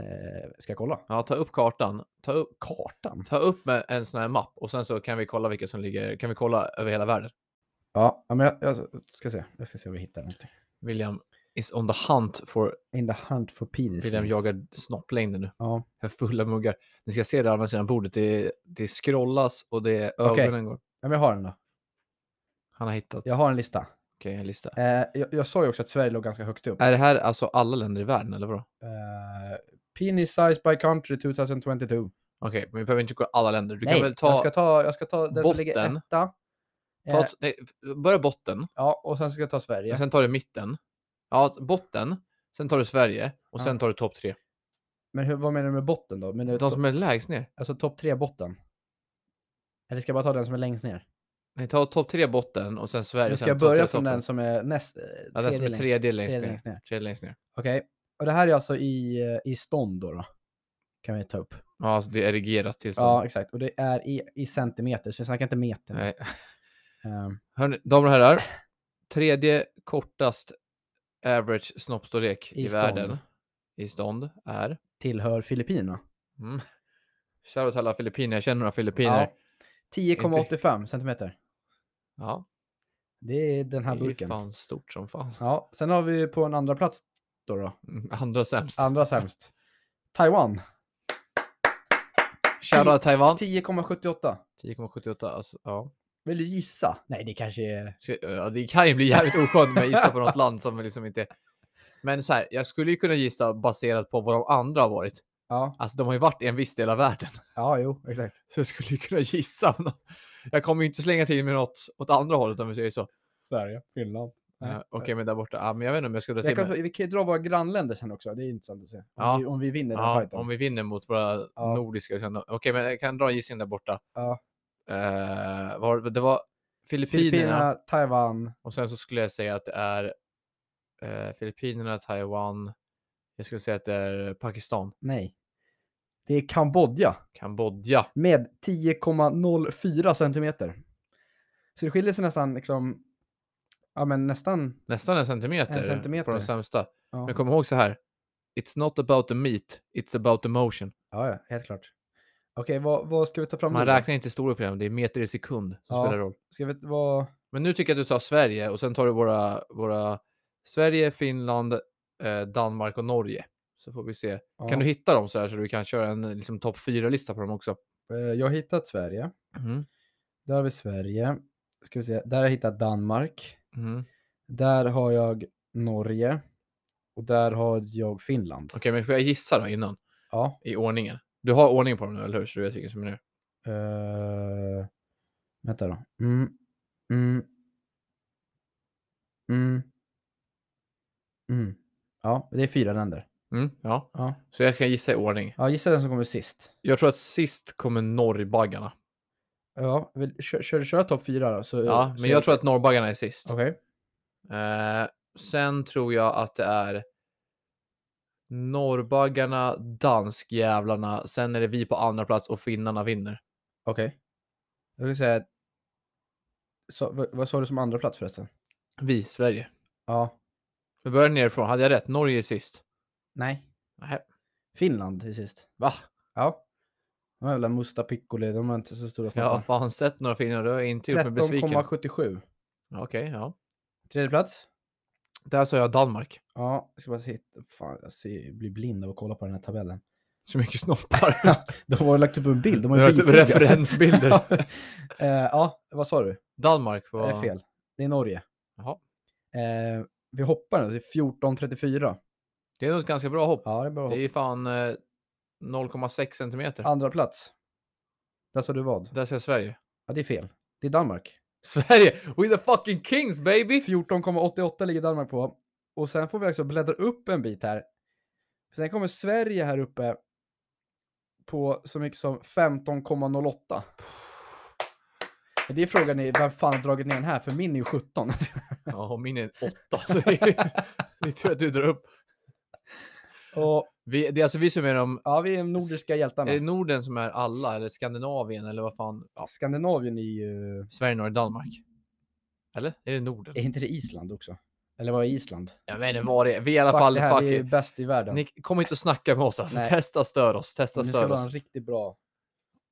Eh, ska jag kolla? Ja, ta upp kartan. Ta upp, Kartan? ta upp med en sån här mapp och sen så kan vi kolla vilka som ligger, kan vi kolla över hela världen? Ja, ja, men jag, jag ska se. Jag ska se om vi hittar någonting. William is on the hunt for... In the hunt for penis. William jagar snopplängden nu. Ja. Jag har fulla muggar. Ni ska se det andra sidan bordet. Det, det scrollas och det Okej. ögonen går. ja, men jag har den då. Han har hittat. Jag har en lista. Okej, en lista. Eh, jag, jag sa ju också att Sverige låg ganska högt upp. Är det här alltså alla länder i världen eller vadå? Eh, penis size by country 2022. Okej, men vi behöver inte gå alla länder. Du Nej, kan väl ta... jag ska ta, jag ska ta den som ligger botten. etta. ta Eh, nej, börja botten, ja, och sen ska jag ta Sverige. och sen tar du mitten. Ja, botten. Sen tar du Sverige och Ja. sen tar du topp tre. Men hur, vad menar du med botten då? Men De som är lägst ner. Alltså topp tre botten? Eller ska jag bara ta den som är längst ner? Nej, ta topp tre botten och sen Sverige. Eller sen ska jag topp tre börja från toppen. den som är näst? eh, Ja, den som är tredje längst- tredje längst tredje ner. längst ner. Tredje längst ner. Okej, och det här är alltså i, eh, i stånd då, då? Kan vi ta upp. Ja, alltså det är erigerat tillstånd. Ja, exakt. Och det är i, i centimeter, så vi snackar inte meter. Nej. Ehm, Hörni, damer och herrar. Tredje kortast average snoppstorlek i, I stånd. världen i stånd är... tillhör Filippinerna. Mm. Shoutout till alla filippiner. Jag känner några filippiner. Ja. 10,85 centimeter. Ja, Det är den här det är burken. fan stort som fan. [LAUGHS] Ja, sen har vi på en andra plats då, då. Mm, Andra sämst. Andra sämst. Taiwan. Shoutout Taiwan. 10,78. 10,78. Alltså, ja. Vill du gissa? Nej, det kanske är... Ska- ja, det kan ju bli jävligt oskönt med gissa på något land som liksom inte... Men så här, jag skulle ju kunna gissa baserat på vad de andra har varit. Ja, Alltså de har ju varit i en viss del av världen. [LAUGHS] ja jo, exakt. Så jag skulle ju kunna gissa. om någon- Jag kommer ju inte slänga till med något åt andra hållet om vi säger så. Sverige, Finland. Nej. Eh, Okej, men där borta. Ja, men jag vet inte om jag skulle dra Jag till med. kan, vi kan ju dra våra grannländer sen också, det är intressant att se. Om, Ja. vi, om vi vinner den Ja, fighten. om vi vinner mot våra Ja. nordiska. kan- Okej, men jag kan dra en gissning där borta. Ja. Eh, var, det var Filippinerna, Filippinerna, Taiwan. och sen så skulle jag säga att det är eh, Filippinerna, Taiwan. Jag skulle säga att det är Pakistan, Nej. Det är Kambodja Kambodja. med 10,04 centimeter. Så det skiljer sig nästan liksom, ja men nästan, Nästan en centimeter, En centimeter. på de sämsta. ja, Men kom ihåg så här. It's not about the meat, it's about the motion. ja, ja, helt klart. Okej, vad, vad ska vi ta fram Man nu då? räknar inte stora problem, det är meter i sekund som Ja. spelar roll. Ska vi, vad, Men nu tycker jag att du tar Sverige och sen tar du våra, våra Sverige, Finland, eh, Danmark och Norge. Så får vi se. ja. Kan du hitta dem så här så du kan köra en eh, liksom, topp 4-lista på dem också? Eh, Jag har hittat Sverige. Mhm. Där har vi Sverige. Ska vi se. Där har jag hittat Danmark. Mhm. Där har jag Norge. Och där har jag Finland. Okej, men får jag gissa då innan? Ja. I ordningen. Du har ordning på dem nu, eller hur? Så du vet vilken som är nu. Uh, vänta då. Mm. Mm. Mm. Mm. Ja, det är fyra länder. Mm, ja. Ja. Så jag kan gissa i ordning. ja, gissa den som kommer sist. Jag tror att sist kommer norrbaggarna. Ja, vill, kör, kör, kör topp fyra då. Så, Ja, så men jag tror att norrbaggarna är sist. Okej. Eh, sen tror jag att det är norrbaggarna, danskjävlarna, sen är det vi på andra plats och finnarna vinner. Okej. Jag vill säga... Så, vad, vad sa du som andra plats förresten? Vi, Sverige. Ja. Vi börjar nerifrån. Hade jag rätt? Norge är sist. Nej. Nähä. Finland till sist. Va? Ja. De här jävla Musta Piccoli, de har inte så stora Jag har snoppar. fan sett några finnar. Du har inte typ gjort mig besviken. 13,77. Okej, ja. Tredje plats. Där sa jag Danmark. Ja, jag ska bara se. Fan, jag ser, blir blind av att kolla på den här tabellen. Så mycket [LAUGHS] snoppar. De har lagt upp en bild. De Nu har har ju jag typ bifogat. [LAUGHS] referensbilder. Eh, ja, vad sa du? Danmark Det är var... fel. Det är Norge. Jaha. Eh, vi hoppar nu till 14,34. Det är nog ett ganska bra hopp. Ja, det är bra Det är hopp. ju fan eh, 0,6 centimeter. Andra plats. Där sa du vad? Där ser jag Sverige. Ja, det är fel. Det är Danmark. Sverige! We the fucking kings baby! 14,88 ligger Danmark på. Och sen får vi också bläddra upp en bit här. Sen kommer Sverige här uppe på så mycket som 15,08. Men det är frågan är, vem fan har dragit ner den här? För min är ju 17. Ja, min är en åtta. Så det [LAUGHS] är det är tur att du drar upp. [LAUGHS] Och Vi, det är alltså vi som är de... ja, vi är de nordiska Är det hjältarna. Norden som är alla? Eller Skandinavien? Eller vad fan? Eh, Ja, Skandinavien är ju... Sverige, Norge, Danmark. Eller? Är det Norden? Är inte det Island också? Eller vad är Island? Jag vet inte vad det är. Vi är i alla fuck, fall... det här Fuck vi är it. bäst i världen. Ni kommer inte att snacka med oss alltså. Nej. Testa stör oss. Testa Nu ska stör vi oss. ha en riktigt bra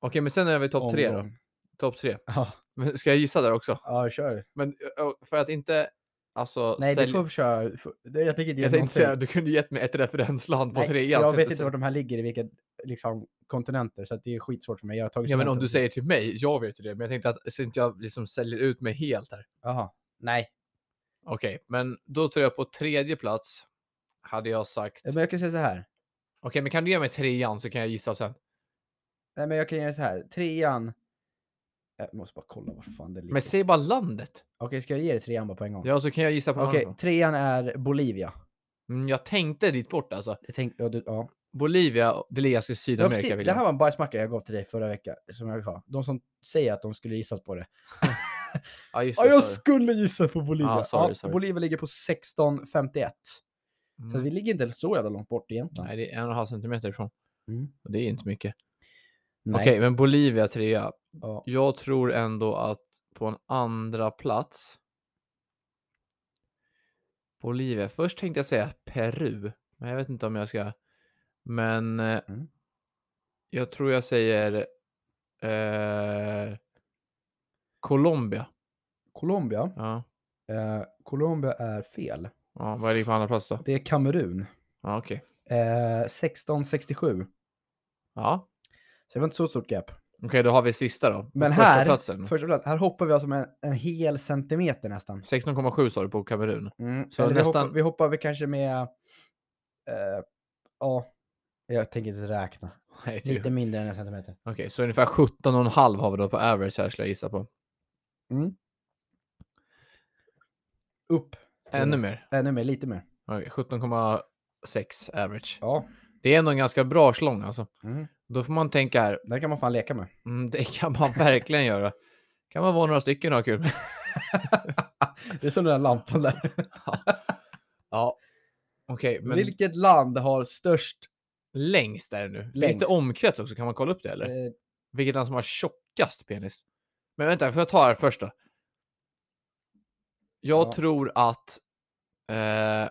Okej, men sen är vi topp tre då. omgång. [LAUGHS] Topp tre. Ja, Men ska jag gissa där också? ja, kör. Men ö, för att inte... Alltså, Nej, sälj... du får köra. du får- Jag tänker inte ge Jag någonting. tänkte säga, du kunde gett mig ett referensland på Nej, för trean. jag så vet inte så- var de här ligger i vilka liksom, kontinenter, så att det är skitsvårt för mig. Jag har tagit Ja, men om studenten. du säger till mig, jag vet ju det, men jag tänkte att så inte jag liksom säljer ut mig helt här. Jaha. Nej, Okej, men då tror jag på tredje plats hade jag sagt. men Okej, jag kan säga så här. men kan du ge mig trean så kan jag gissa sen. Nej, men jag kan göra så här. Trean. Jag måste bara kolla var fan det ligger. Men säg bara landet. Okej, ska jag ge dig trean bara på en gång? Ja, så kan jag gissa på Okej, okay. trean är Bolivia. mm, Jag tänkte dit bort alltså. Jag tänkte, ja, du, ja. Bolivia, det ligger alltså i Ja, Sydamerika. precis, vill det här jag. var en bajsmacka jag gav till dig förra veckan, som jag sa. De som säger att de skulle [LAUGHS] gissas på det. Ja, just Ja, det. jag sorry. skulle gissa på Bolivia. Ja, sorry, sorry. Bolivia ligger på 16,51. Så att vi Mm. ligger inte så jävla långt bort egentligen. Nej, det är en och en halv centimeter ifrån. Mm. Och Det är inte mycket. Nej. Okej, men Bolivia trea. Ja. Jag tror ändå att på en andra plats. Bolivia. Först tänkte jag säga Peru, men jag vet inte om jag ska. Men eh, Mm. jag tror jag säger eh, Colombia. Colombia. Ja. Eh, Colombia är fel. ja, vad är det på andra plats då? Det är Kamerun. Ja, okej. Eh, 1667. Ja, Så det var inte så stort gap. Okej, då har vi sista då. På Men första här- Platsen. Första plats, här hoppar vi alltså med en, en hel centimeter nästan. 16,7 sa du på Kamerun. Mm, Så eller vi, nästan- hoppar, vi hoppar väl kanske med... eh, ja, jag tänker inte räkna. Nej, typ. Lite Okej, mindre än en centimeter. så ungefär 17,5 har vi då på average här skulle jag gissa på. Upp. Ännu mer. Ännu mer, lite mer. Okej, 17,6 average. Ja. Det är ändå en ganska bra slång alltså. Mm. Då får man tänka här, Där kan man fan leka med. mm, det kan man [LAUGHS] verkligen göra. Kan man vara några stycken och ha kul med. Det är som den där lampan där. Ja, okej, men [LAUGHS] Vilket land har störst... längst är det nu. Finns Längst. det omkrets också? Kan man kolla upp det eller? Eh, Vilket land som har tjockast penis? Men vänta, får jag ta det här först då? Jag Ja. tror att... Eh,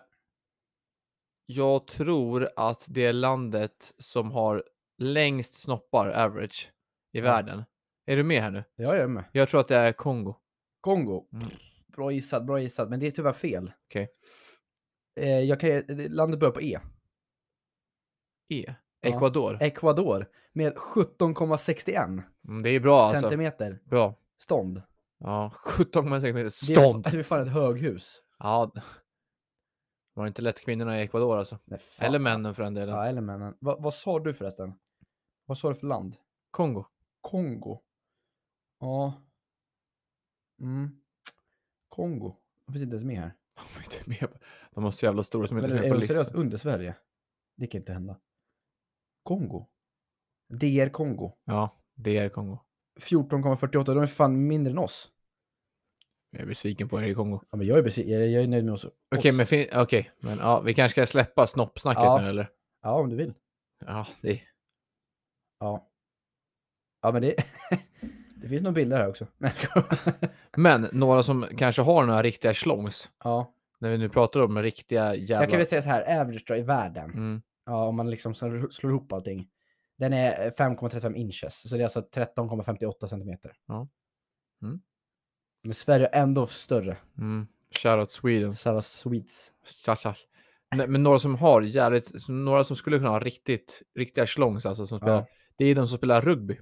jag tror att det landet som har längst snoppar, average, i Ja. världen. Är du med här nu? ja, jag är med. Jag tror att det är Kongo. Kongo. Mm. Bra gissat, bra gissat. Men det är tyvärr fel. Okej. Eh, jag kan, ge- landet börjar på E. E. Ja. Ecuador. Ecuador. Med 17,61 Mm, det är bra alltså. centimeter Bra. stånd. Ja, [LAUGHS] 17,6 meter. Det är, Stånd! Alltså, det är fan ett höghus. Ja. Var det inte lätt kvinnorna i Ecuador alltså? Nej, Eller männen för den delen. Ja, eller männen. Va, vad sa du förresten? Vad sa du för land? Kongo. Kongo. Ja. Mm. Kongo. De finns inte ens med här. [LAUGHS] De är inte med på- De har så jävla stora som inte Men är är med på de listan. seriöst under Sverige? Det kan inte hända. Kongo. DR Kongo. Ja, det är Kongo. 14,48. De är fan mindre än oss. Jag är besviken på er i Kongo. Ja, men jag är besviken. Jag är- jag är nöjd med oss. Okej, oss. men, fin- okej, men ja, vi kanske ska släppa snoppsnacket Ja. nu eller? Ja, om du vill. Ja, det... Ja. Ja, men det... [LAUGHS] det finns nog bilder här också. Nej, jag skojar. Men några som kanske har några riktiga slongs. ja. När vi nu pratar om riktiga jävla... Jag kan väl säga så här. Average då i världen. mm, Ja, om man liksom slår slår ihop allting. Den är eh, 5,35 inches, så det är alltså 13,58 centimeter. Ja. Mm. Men Sverige är ändå större. mm. Shoutout Sweden. Så alla Swedes. Tja, tja. Nej, Men några som har jävligt... Några som skulle kunna ha riktigt, riktiga slongs alltså som spelar... Ja. Det är de som spelar rugby.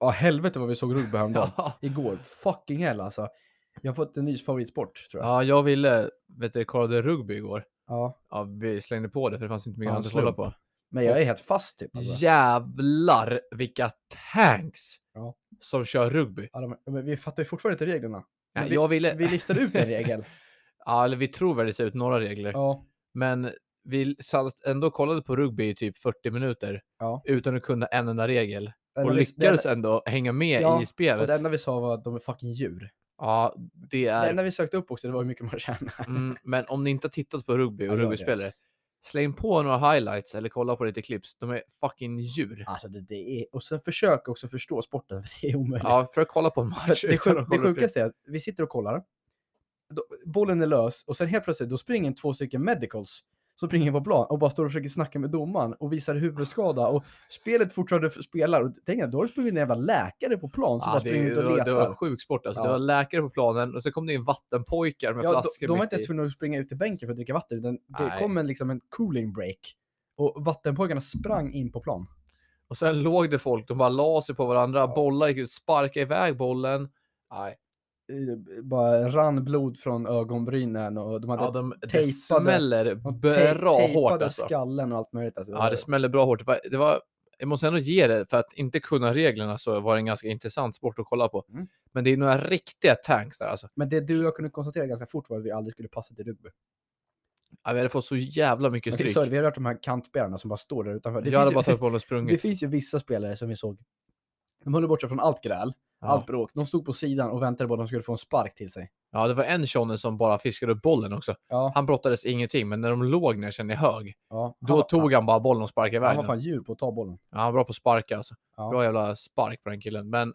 Ja, helvete vad vi såg rugby häromdagen. Ja. Igår. Fucking hell alltså. Jag har fått en ny favoritsport, tror jag. ja, jag ville... Vet du, kollade rugby igår. Ja. Ja, vi slängde på det för det fanns inte mycket Ja, annat att kolla slump. på. Men jag är helt fast typ. Alltså. Jävlar vilka tanks Ja. som kör rugby. Ja, de, men vi fattar ju fortfarande inte reglerna. Men Nej, vi, jag ville... vi listade ut [LAUGHS] en regel. ja, eller vi tror väl det ser ut några regler. Ja. Men vi satt ändå och kollade på rugby i typ 40 minuter Ja. utan att kunna en enda regel. Den Och enda vi- lyckades ändå hänga med Ja, i Den, och spelet. det enda vi sa var att de är fucking djur. Ja, det Det är... enda vi sökte upp också, det var hur mycket man tjänar. Mm, men om ni inte har tittat på rugby och Ja, gör det, rugbyspelare, släng på några highlights eller kolla på lite clips. De är fucking djur. Alltså det, det är, och sen försök också förstå sporten, [LAUGHS] för det är omöjligt. Ja, för att kolla på en För att match. det, utan att sjuk, det kolla på sjukaste är att vi sitter och kollar, då, bollen är lös och sen helt plötsligt då springer två stycken medicals som springer in på plan och bara står och försöker snacka med domaren och visar huvudskada och spelet fortfarande f- spelar. Och tänk att då har det sprungit en jävla läkare på plan som Ja, bara det, springer ut och var- letar. det var sjuk sport alltså. Det Ja. var läkare på planen och så kom det in vattenpojkar med ja, de, flaskor de var mitt inte ens i. tvungna att springa ut till bänken för att dricka vatten utan det Nej. kom en, liksom en cooling break. Och vattenpojkarna sprang in på plan. Och sen låg det folk, de bara la sig på varandra, Ja. bollar gick ut, sparkade iväg bollen. Nej, Eh, Bara rann blod från ögonbrynen och de hade ja, de, det tejpade- smäller Och tej- bra hårt tejpade alltså. skallen och allt möjligt. Alltså. Ja, det smäller bra hårt. Det var, det var, jag måste ändå ge det, för att inte kunna reglerna så var det en ganska intressant sport att kolla på. Mm. Men det är några riktiga tanks där alltså. Men det du och jag kunde konstatera ganska fort var att vi aldrig skulle passa till rugby. Ja, vi hade fått så jävla mycket Men till stryk. Sörj, vi har hört de här kantspelarna som bara står där utanför. Det, Jag hade bara finns, tagit ju, bollen och [LAUGHS] det sprungit. finns ju vissa spelare som vi såg, de höll bort sig från allt gräl, Ja. allt bråk. De stod på sidan och väntade på att de skulle få en spark till sig. ja, det var en shonen som bara fiskade upp bollen också. Ja, Han brottades ingenting, men när de låg ner kände jag hög. ja. Då han, var- tog han bara bollen och sparkade han, iväg han var den. fan djur på att ta bollen. Ja, han var bra på att sparka alltså. Ja. Bra jävla spark på den killen. Men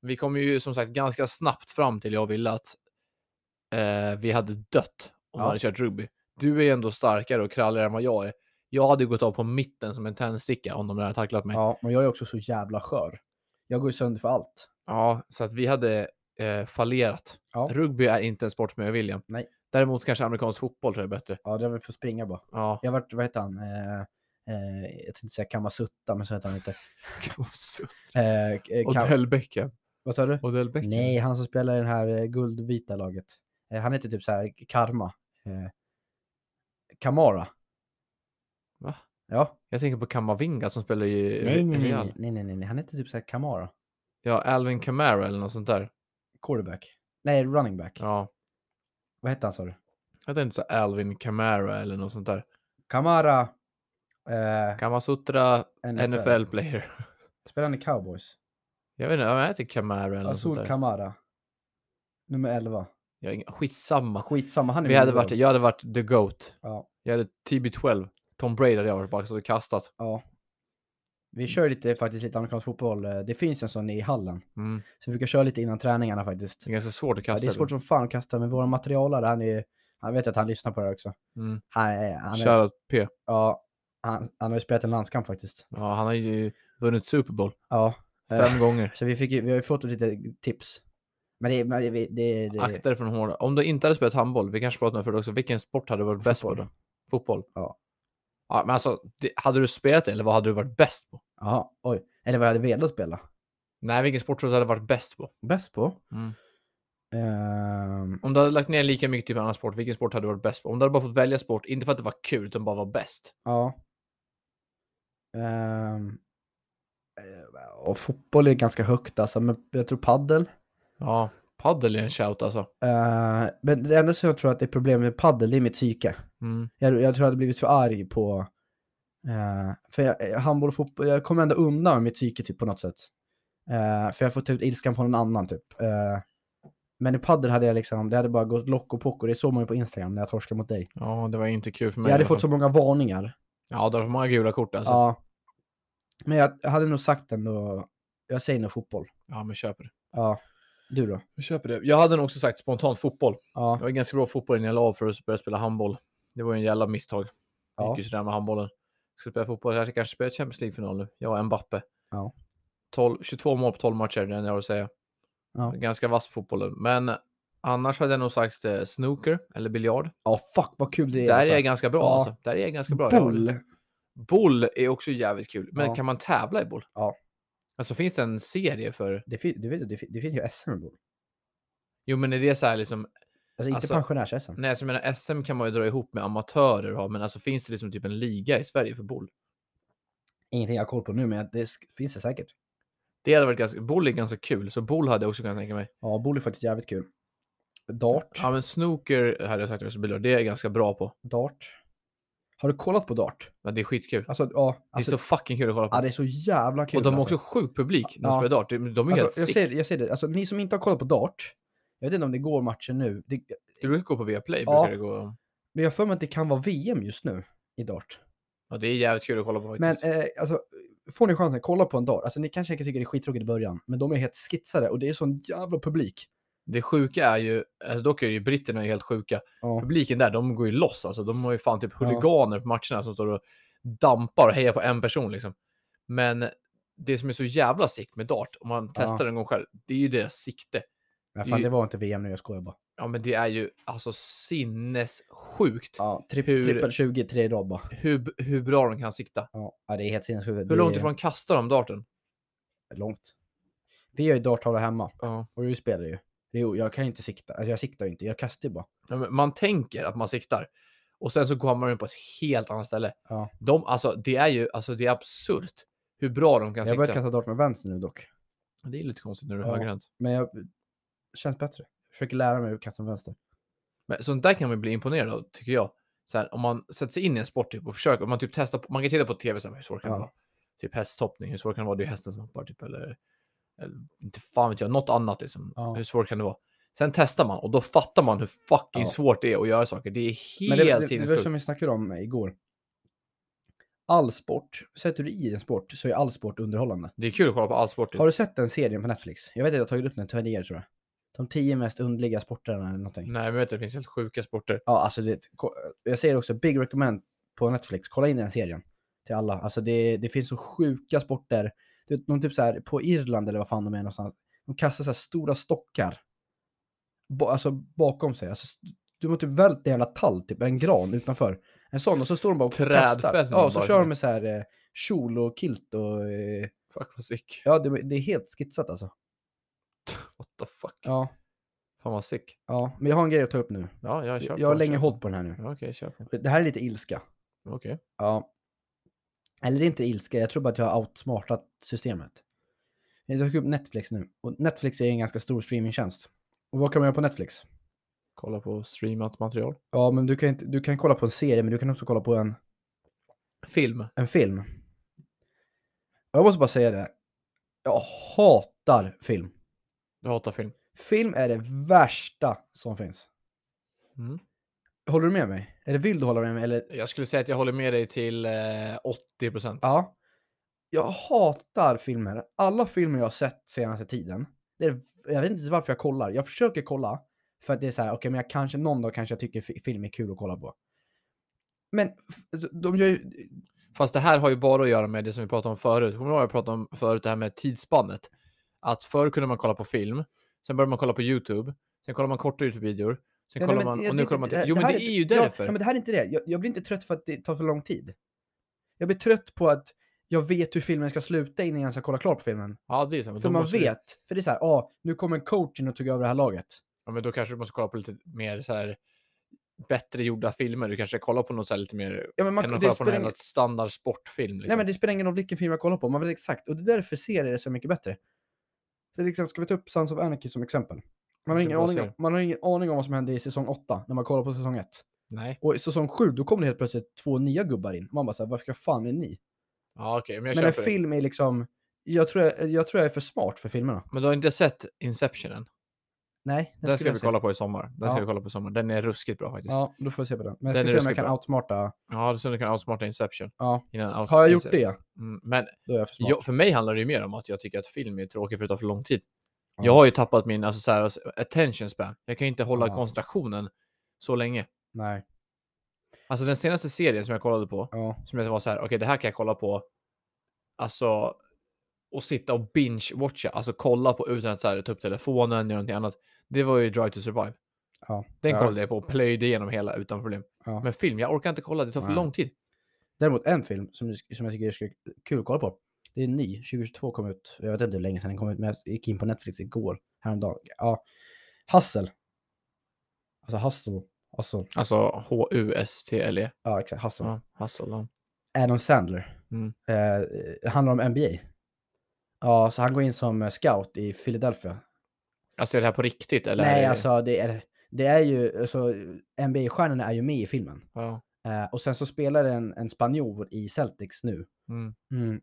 vi kom ju som sagt ganska snabbt fram till jag ville att eh, vi hade dött om vi Ja. hade kört rugby. Du är ändå starkare och kralligare än vad jag är. Jag hade gått av på mitten som en tändsticka om de där hade tacklat mig. Ja, Ja, men jag är också så jävla skör. Jag går ju sönder för allt. så att vi hade eh, fallerat. Ja. Rugby är inte en sport som jag är William. Nej. Däremot kanske amerikansk fotboll tror jag är bättre. [LAUGHS] Ja, det var för att springa bara. Ja, Jag vart, vad heter han, eh, eh, jag tänkte säga Kamasutta, men så heter han inte. Eh, eh, Ka- Odell Beckham. vad sa du? Odell Beckham. Nej, han som spelar i det här eh, guldvita laget. Eh, han heter typ så här Karma. Eh, Kamara. Va? Ja. Jag tänker på Kamavinga som spelar i Nej, nej, nej, Real. nej, nej, nej, nej, nej. Han heter typ så här Kamara. Ja, Alvin Kamara eller något sånt där. Quarterback. Nej, running back. Ja, Vad hette han sa du? jag tänkte så här Alvin Kamara eller något sånt där. Kamara. Eh, Kamasutra NFL. NFL player. [LAUGHS] Spelar han i Cowboys? Jag vet inte, han heter Kamara eller något sånt Azul där. Kamara. Nummer 11. Jag har inga- Skitsamma. Skitsamma, han är Vi hade min varit, idol. jag hade varit the GOAT. Ja. Jag hade TB12. Tom Brady hade jag varit bara så och kastat. ja. Vi kör lite faktiskt lite amerikansk fotboll. Eh, Det finns en sån i hallen. Mm. Så vi brukar köra lite innan träningarna faktiskt. Det är ganska svårt att Ja, kasta. det är svårt som fan att kasta, men våra materialare, han är Han vet att han lyssnar på det här också. Mm. Han, är- han, är, Shoutout P. ja, han, han har ju spelat en landskamp faktiskt. Ja, han har ju vunnit Super Bowl Ja. eh, fem gånger. Så vi, fick, ju- vi har ju fått lite tips. Men det, men det, det, det, Akta dig från hårda. Om du inte hade spelat handboll, vi kanske pratade om det förut också, vilken sport hade du varit bäst på Fotboll. då? Fotboll? Ja. Ja, men alltså, det, hade du spelat det eller vad hade du varit bäst på? Jaha, oj. Eller vad jag hade velat spela. Nej, vilken sport tror du hade varit bäst på? Bäst på? Mm. Ehm, Om du hade lagt ner lika mycket tid på en annan sport, vilken sport hade du varit bäst på? Om du hade bara fått välja sport, inte för att det var kul, utan bara var bäst. ja. Ehm, eh, och fotboll är ganska högt alltså, men jag tror paddel. Ja, padel är en shout alltså. Eh, men det enda som jag tror att det är problem med paddel, det är mitt psyke. Mm. Jag, jag tror jag hade blivit för arg på... eh, för jag, eh, handboll och fotboll, jag kommer ändå undan med mitt psyke typ på något sätt. Eh, för jag får ta ut ilskan på någon annan typ. Eh, men i padel hade jag liksom, det hade bara gått lock och pock och det såg man ju på Instagram när jag torskade mot dig. Ja, det var inte kul för mig. Jag hade i alla fått fall. så många varningar. Ja, det var för många gula kort alltså. Ja, Ja. Men jag, jag hade nog sagt ändå, jag säger nog fotboll. men köper det. Ja. Du då? Jag köper det. Jag hade nog också sagt spontant fotboll. Jag Ja. var ganska bra på fotboll innan jag la av för att börja spela handboll. Det var ju en jävla misstag. Jag Ja. gick ju sådär med handbollen. Skulle spela fotboll, jag kanske spelar Champions League-final nu. Jag och Mbappe. Ja. 12, 22 mål på 12 matcher, det är det jag har att säga. Ja. Ganska vass på fotbollen. Men annars hade jag nog sagt eh, snooker eller biljard. Ja, fuck vad kul det är. Där alltså. är jag ganska bra Ja. alltså. Där är jag ganska bra. Jag- Boll. Boll är också jävligt kul. Men Ja. kan man tävla i boll? Ja. Alltså finns det en serie för... Det, fin- du vet, det, fin- det finns ju SM i boll. Jo men är det så här liksom... Alltså inte Alltså- pensionärs-SM. Nej, så jag menar SM kan man ju dra ihop med amatörer och ha, men alltså finns det liksom typ en liga i Sverige för boll? Ingenting jag har koll på nu, men jag- det sk- finns det säkert. Det hade varit ganska... Boll är ganska kul, så boll hade jag också kunnat tänka mig. Ja, boll är faktiskt jävligt kul. Dart. Ja, men snooker hade jag sagt också, biljard. Det är jag ganska bra på. Dart. Har du kollat på dart? Men det är skitkul. Alltså, ja. Alltså, det är så fucking kul att kolla på. ja, det är så jävla kul. och de har alltså. också sjuk publik när de Ja. spelar dart. De, de är helt Alltså, jag, sick. ser, jag ser det. Alltså, ni som inte har kollat på dart. Jag vet inte om det går matcher nu. Det, Det brukar gå på Viaplay. Ja. Brukar det gå... men jag har för mig att det kan vara VM just nu i dart. ja, det är jävligt kul att kolla på faktiskt. Men eh, alltså, får ni chansen, kolla på en dart. Alltså, ni kanske tycker det är skittråkigt i början, men de är helt skitsade och det är sån jävla publik. Det sjuka är ju, alltså dock är ju britterna ju helt sjuka. Ja. Publiken där, de går ju loss alltså. De har ju fan typ huliganer på matcherna som står och dampar och hejar på en person liksom. Men det som är så jävla sick med dart, om man Ja. testar en gång själv, det är ju deras sikte. Ja, Det är fan, ju- det var inte VM nu, jag skojar bara. Ja men det är ju alltså sinnessjukt Ja, tri- Hur- Trippel 20, tre i rad bara. hur, hur bra de kan sikta. Ja, ja, det är helt sinnessjukt. Hur Det långt är ifrån kastar de darten? Långt. Vi har ju darttavla hemma Ja. och du spelar ju. Jo, jag kan ju inte sikta. Alltså jag siktar ju inte, jag kastar ju bara. men man tänker att man siktar och sen så kommer man in på ett helt annat ställe. Ja. De, alltså, det är ju alltså, det är absurt hur bra de kan Jag har börjat sikta. kasta dart med vänster nu dock. Det är lite konstigt när du är Ja. högerhänt. Men jag känns bättre. Försöker lära mig att kasta med vänster. Men sånt där kan man ju bli imponerad av, tycker jag. Så här, om man sätter sig in i en sport typ, och försöker, om man, typ testar på, man kan titta på tv, så här, hur svårt kan det Ja. vara? Typ hästhoppning, hur svårt kan det vara? Det är hästen som hoppar, typ, eller, eller inte fan vet jag, något annat. Liksom. Ja. Hur svårt kan det vara? Sen testar man och då fattar man hur fucking Ja. svårt det är att göra saker. Det är Men det, helt det, det var sinnessjukt. som vi snackade om igår. All sport, sätter du i en sport så är all sport underhållande. Det är kul att kolla på all sport. Typ. Har du sett den serien på Netflix? Jag vet att jag har tagit upp den tidigare tror jag. De tio mest underliga sporterna eller någonting. Nej, men vet du, det finns helt sjuka sporter. Ja, alltså det, ko- jag säger också big recommend på Netflix. Kolla in den serien till alla. Alltså det, det finns så sjuka sporter. Du vet, de typ så här på Irland eller vad fan de är någonstans. De kastar så här stora stockar. Ba, alltså bakom sig. Alltså, s- du har typ vält en jävla tall, typ en gran utanför. En sån och så står de bara och Trädfäll kastar. som Ja, de så bara- kör de med så här eh, kjol och kilt och... Eh, Fuck vad sick. ja, det, det är helt skitsat alltså. What the fuck. Ja, Fan vad sick. ja, men jag har en grej att ta upp nu. Ja, jag kör Jag, på. har länge kör på. hållit på den här nu. Ja, Okej, kör på. Det här är lite ilska. Okej. Ja. Eller det är inte ilska, jag tror bara att jag har outsmartat systemet. Jag tar upp Netflix nu. Och Netflix är en ganska stor streamingtjänst. Och vad kan man göra på Netflix? Kolla på streamat material. Ja, men du kan, inte, du kan kolla på en serie, men du kan också kolla på en, Film. en film. Och Jag måste bara säga det. Jag hatar film. Jag hatar film. Film är det värsta som finns. Mm. Håller du med mig? Eller vill du hålla med mig? Eller Jag skulle säga att jag håller med dig till eh, 80 procent. Ja. Jag hatar filmer. Alla filmer jag har sett senaste tiden. Det är, jag vet inte varför jag kollar. Jag försöker kolla. För att det är så här, okej men jag kanske någon dag kanske jag tycker fi- film är kul att kolla på. Men f- alltså, de gör ju... Fast det här har ju bara att göra med det som vi pratade om förut. Kommer du ihåg vad jag pratade om förut, det här med tidsspannet? Att förr kunde man kolla på film, sen började man kolla på YouTube, sen kollar man korta YouTube-videor, sen Ja, nej, kollar men man, jag- och det- nu kollar man det- till. Jo, men här det är ju ja, därför. Ja, men det här är inte det. Jag, jag blir inte trött för att det tar för lång tid. Jag blir trött på att jag vet hur filmen ska sluta innan jag ens har kollat klart på filmen. Ja, det är så. Men För då man måste vet. du- För det är så här, ah, nu kommer coachen och tog över det här laget. Ja, men då kanske du måste kolla på lite mer så här bättre gjorda filmer. Du kanske kollar på något så här lite mer Ja, men man, än att det kolla på spelar någon ingen- jävla standard sportfilm. Liksom. Nej men det spelar ingen roll vilken film jag kollar på, man vet exakt. Och det är därför serier är så mycket bättre. Så liksom, ska vi ta upp Sons of Anarchy som exempel? Man har, Vilken ingen bra aning om, serie. man har ingen aning om vad som hände i säsong 8 när man kollar på säsong 1. Nej. Och i säsong 7 då kommer det helt plötsligt två nya gubbar in. Man bara såhär, varför fan är ni? Ja, okej, men jag Men en köper det. film är liksom, jag tror jag, jag tror jag är för smart för filmerna. Men du har inte sett Inception än? Nej, Den ska skulle jag vi se. kolla på i sommar. Den Ja. ska vi kolla på i sommar. Den är ruskigt bra faktiskt. Ja, Ja, då får jag se på den. Men jag Den ska är se om jag ruskigt kan bra. outsmarta. ja så du kan outsmarta Inception. Ja. Innan outs- Har jag gjort Inception. det, Mm, men då är jag för smart. jag, för mig handlar det ju mer om att jag tycker att film är tråkigt för att det tar för lång tid. Ja. Jag har ju tappat min alltså, så här, attention span. Jag kan ju inte hålla Ja. koncentrationen så länge. Nej. Alltså den senaste serien som jag kollade på, Ja. som jag var så här, okej det här kan jag kolla på, alltså, och sitta och binge-watcha, alltså kolla på utan att så här, ta upp telefonen, göra någonting annat. Det var ju Drive to Survive. ja. Den ja. kollade jag på och plöjde igenom hela utan problem. Ja. Men film, jag orkar inte kolla, det tar för Nej. lång tid. Däremot en film som, som jag tycker är sk- kul att kolla på. Det är en ny, 2022 kom ut. Jag vet inte hur länge sedan den kom ut, men jag gick in på Netflix igår, häromdagen. Ja. Hassel. Alltså Hassel. Hassel. Alltså H-U-S-T-L-E. Ja, exakt. Hassel. E. Ja, alltså, hustle, ja. Adam Sandler. Mm. Eh, det handlar om NBA. Ja, så han går in som eh, scout i Philadelphia. Alltså är det här på riktigt eller? är Nej, det- alltså det är, det är ju, alltså, NBA-stjärnorna är ju med i filmen. Ja. Eh, och sen så spelar en, en spanjor i Celtics nu. Mm.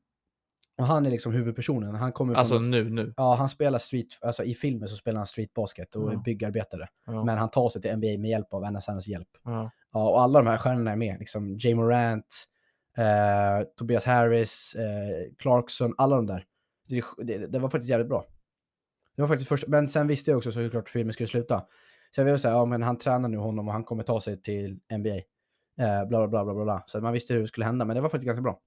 Och han är liksom huvudpersonen. Han kommer från Alltså ett- nu, nu. Ja, han spelar street, alltså i filmen så spelar han streetbasket och är Ja. byggarbetare. Ja. Men han tar sig till NBA med hjälp av NSNs hjälp. Ja. Ja, och alla de här stjärnorna är med. Liksom Jay Morant, eh, Tobias Harris, eh, Clarkson, alla de där. Det, det, det var faktiskt jävligt bra. Det var faktiskt först, men sen visste jag också så såklart hur filmen skulle sluta. Så jag ville säga, ja men han tränar nu honom och han kommer ta sig till NBA. Eh, bla, bla, bla, bla, bla, bla. Så man visste hur det skulle hända, men det var faktiskt ganska bra.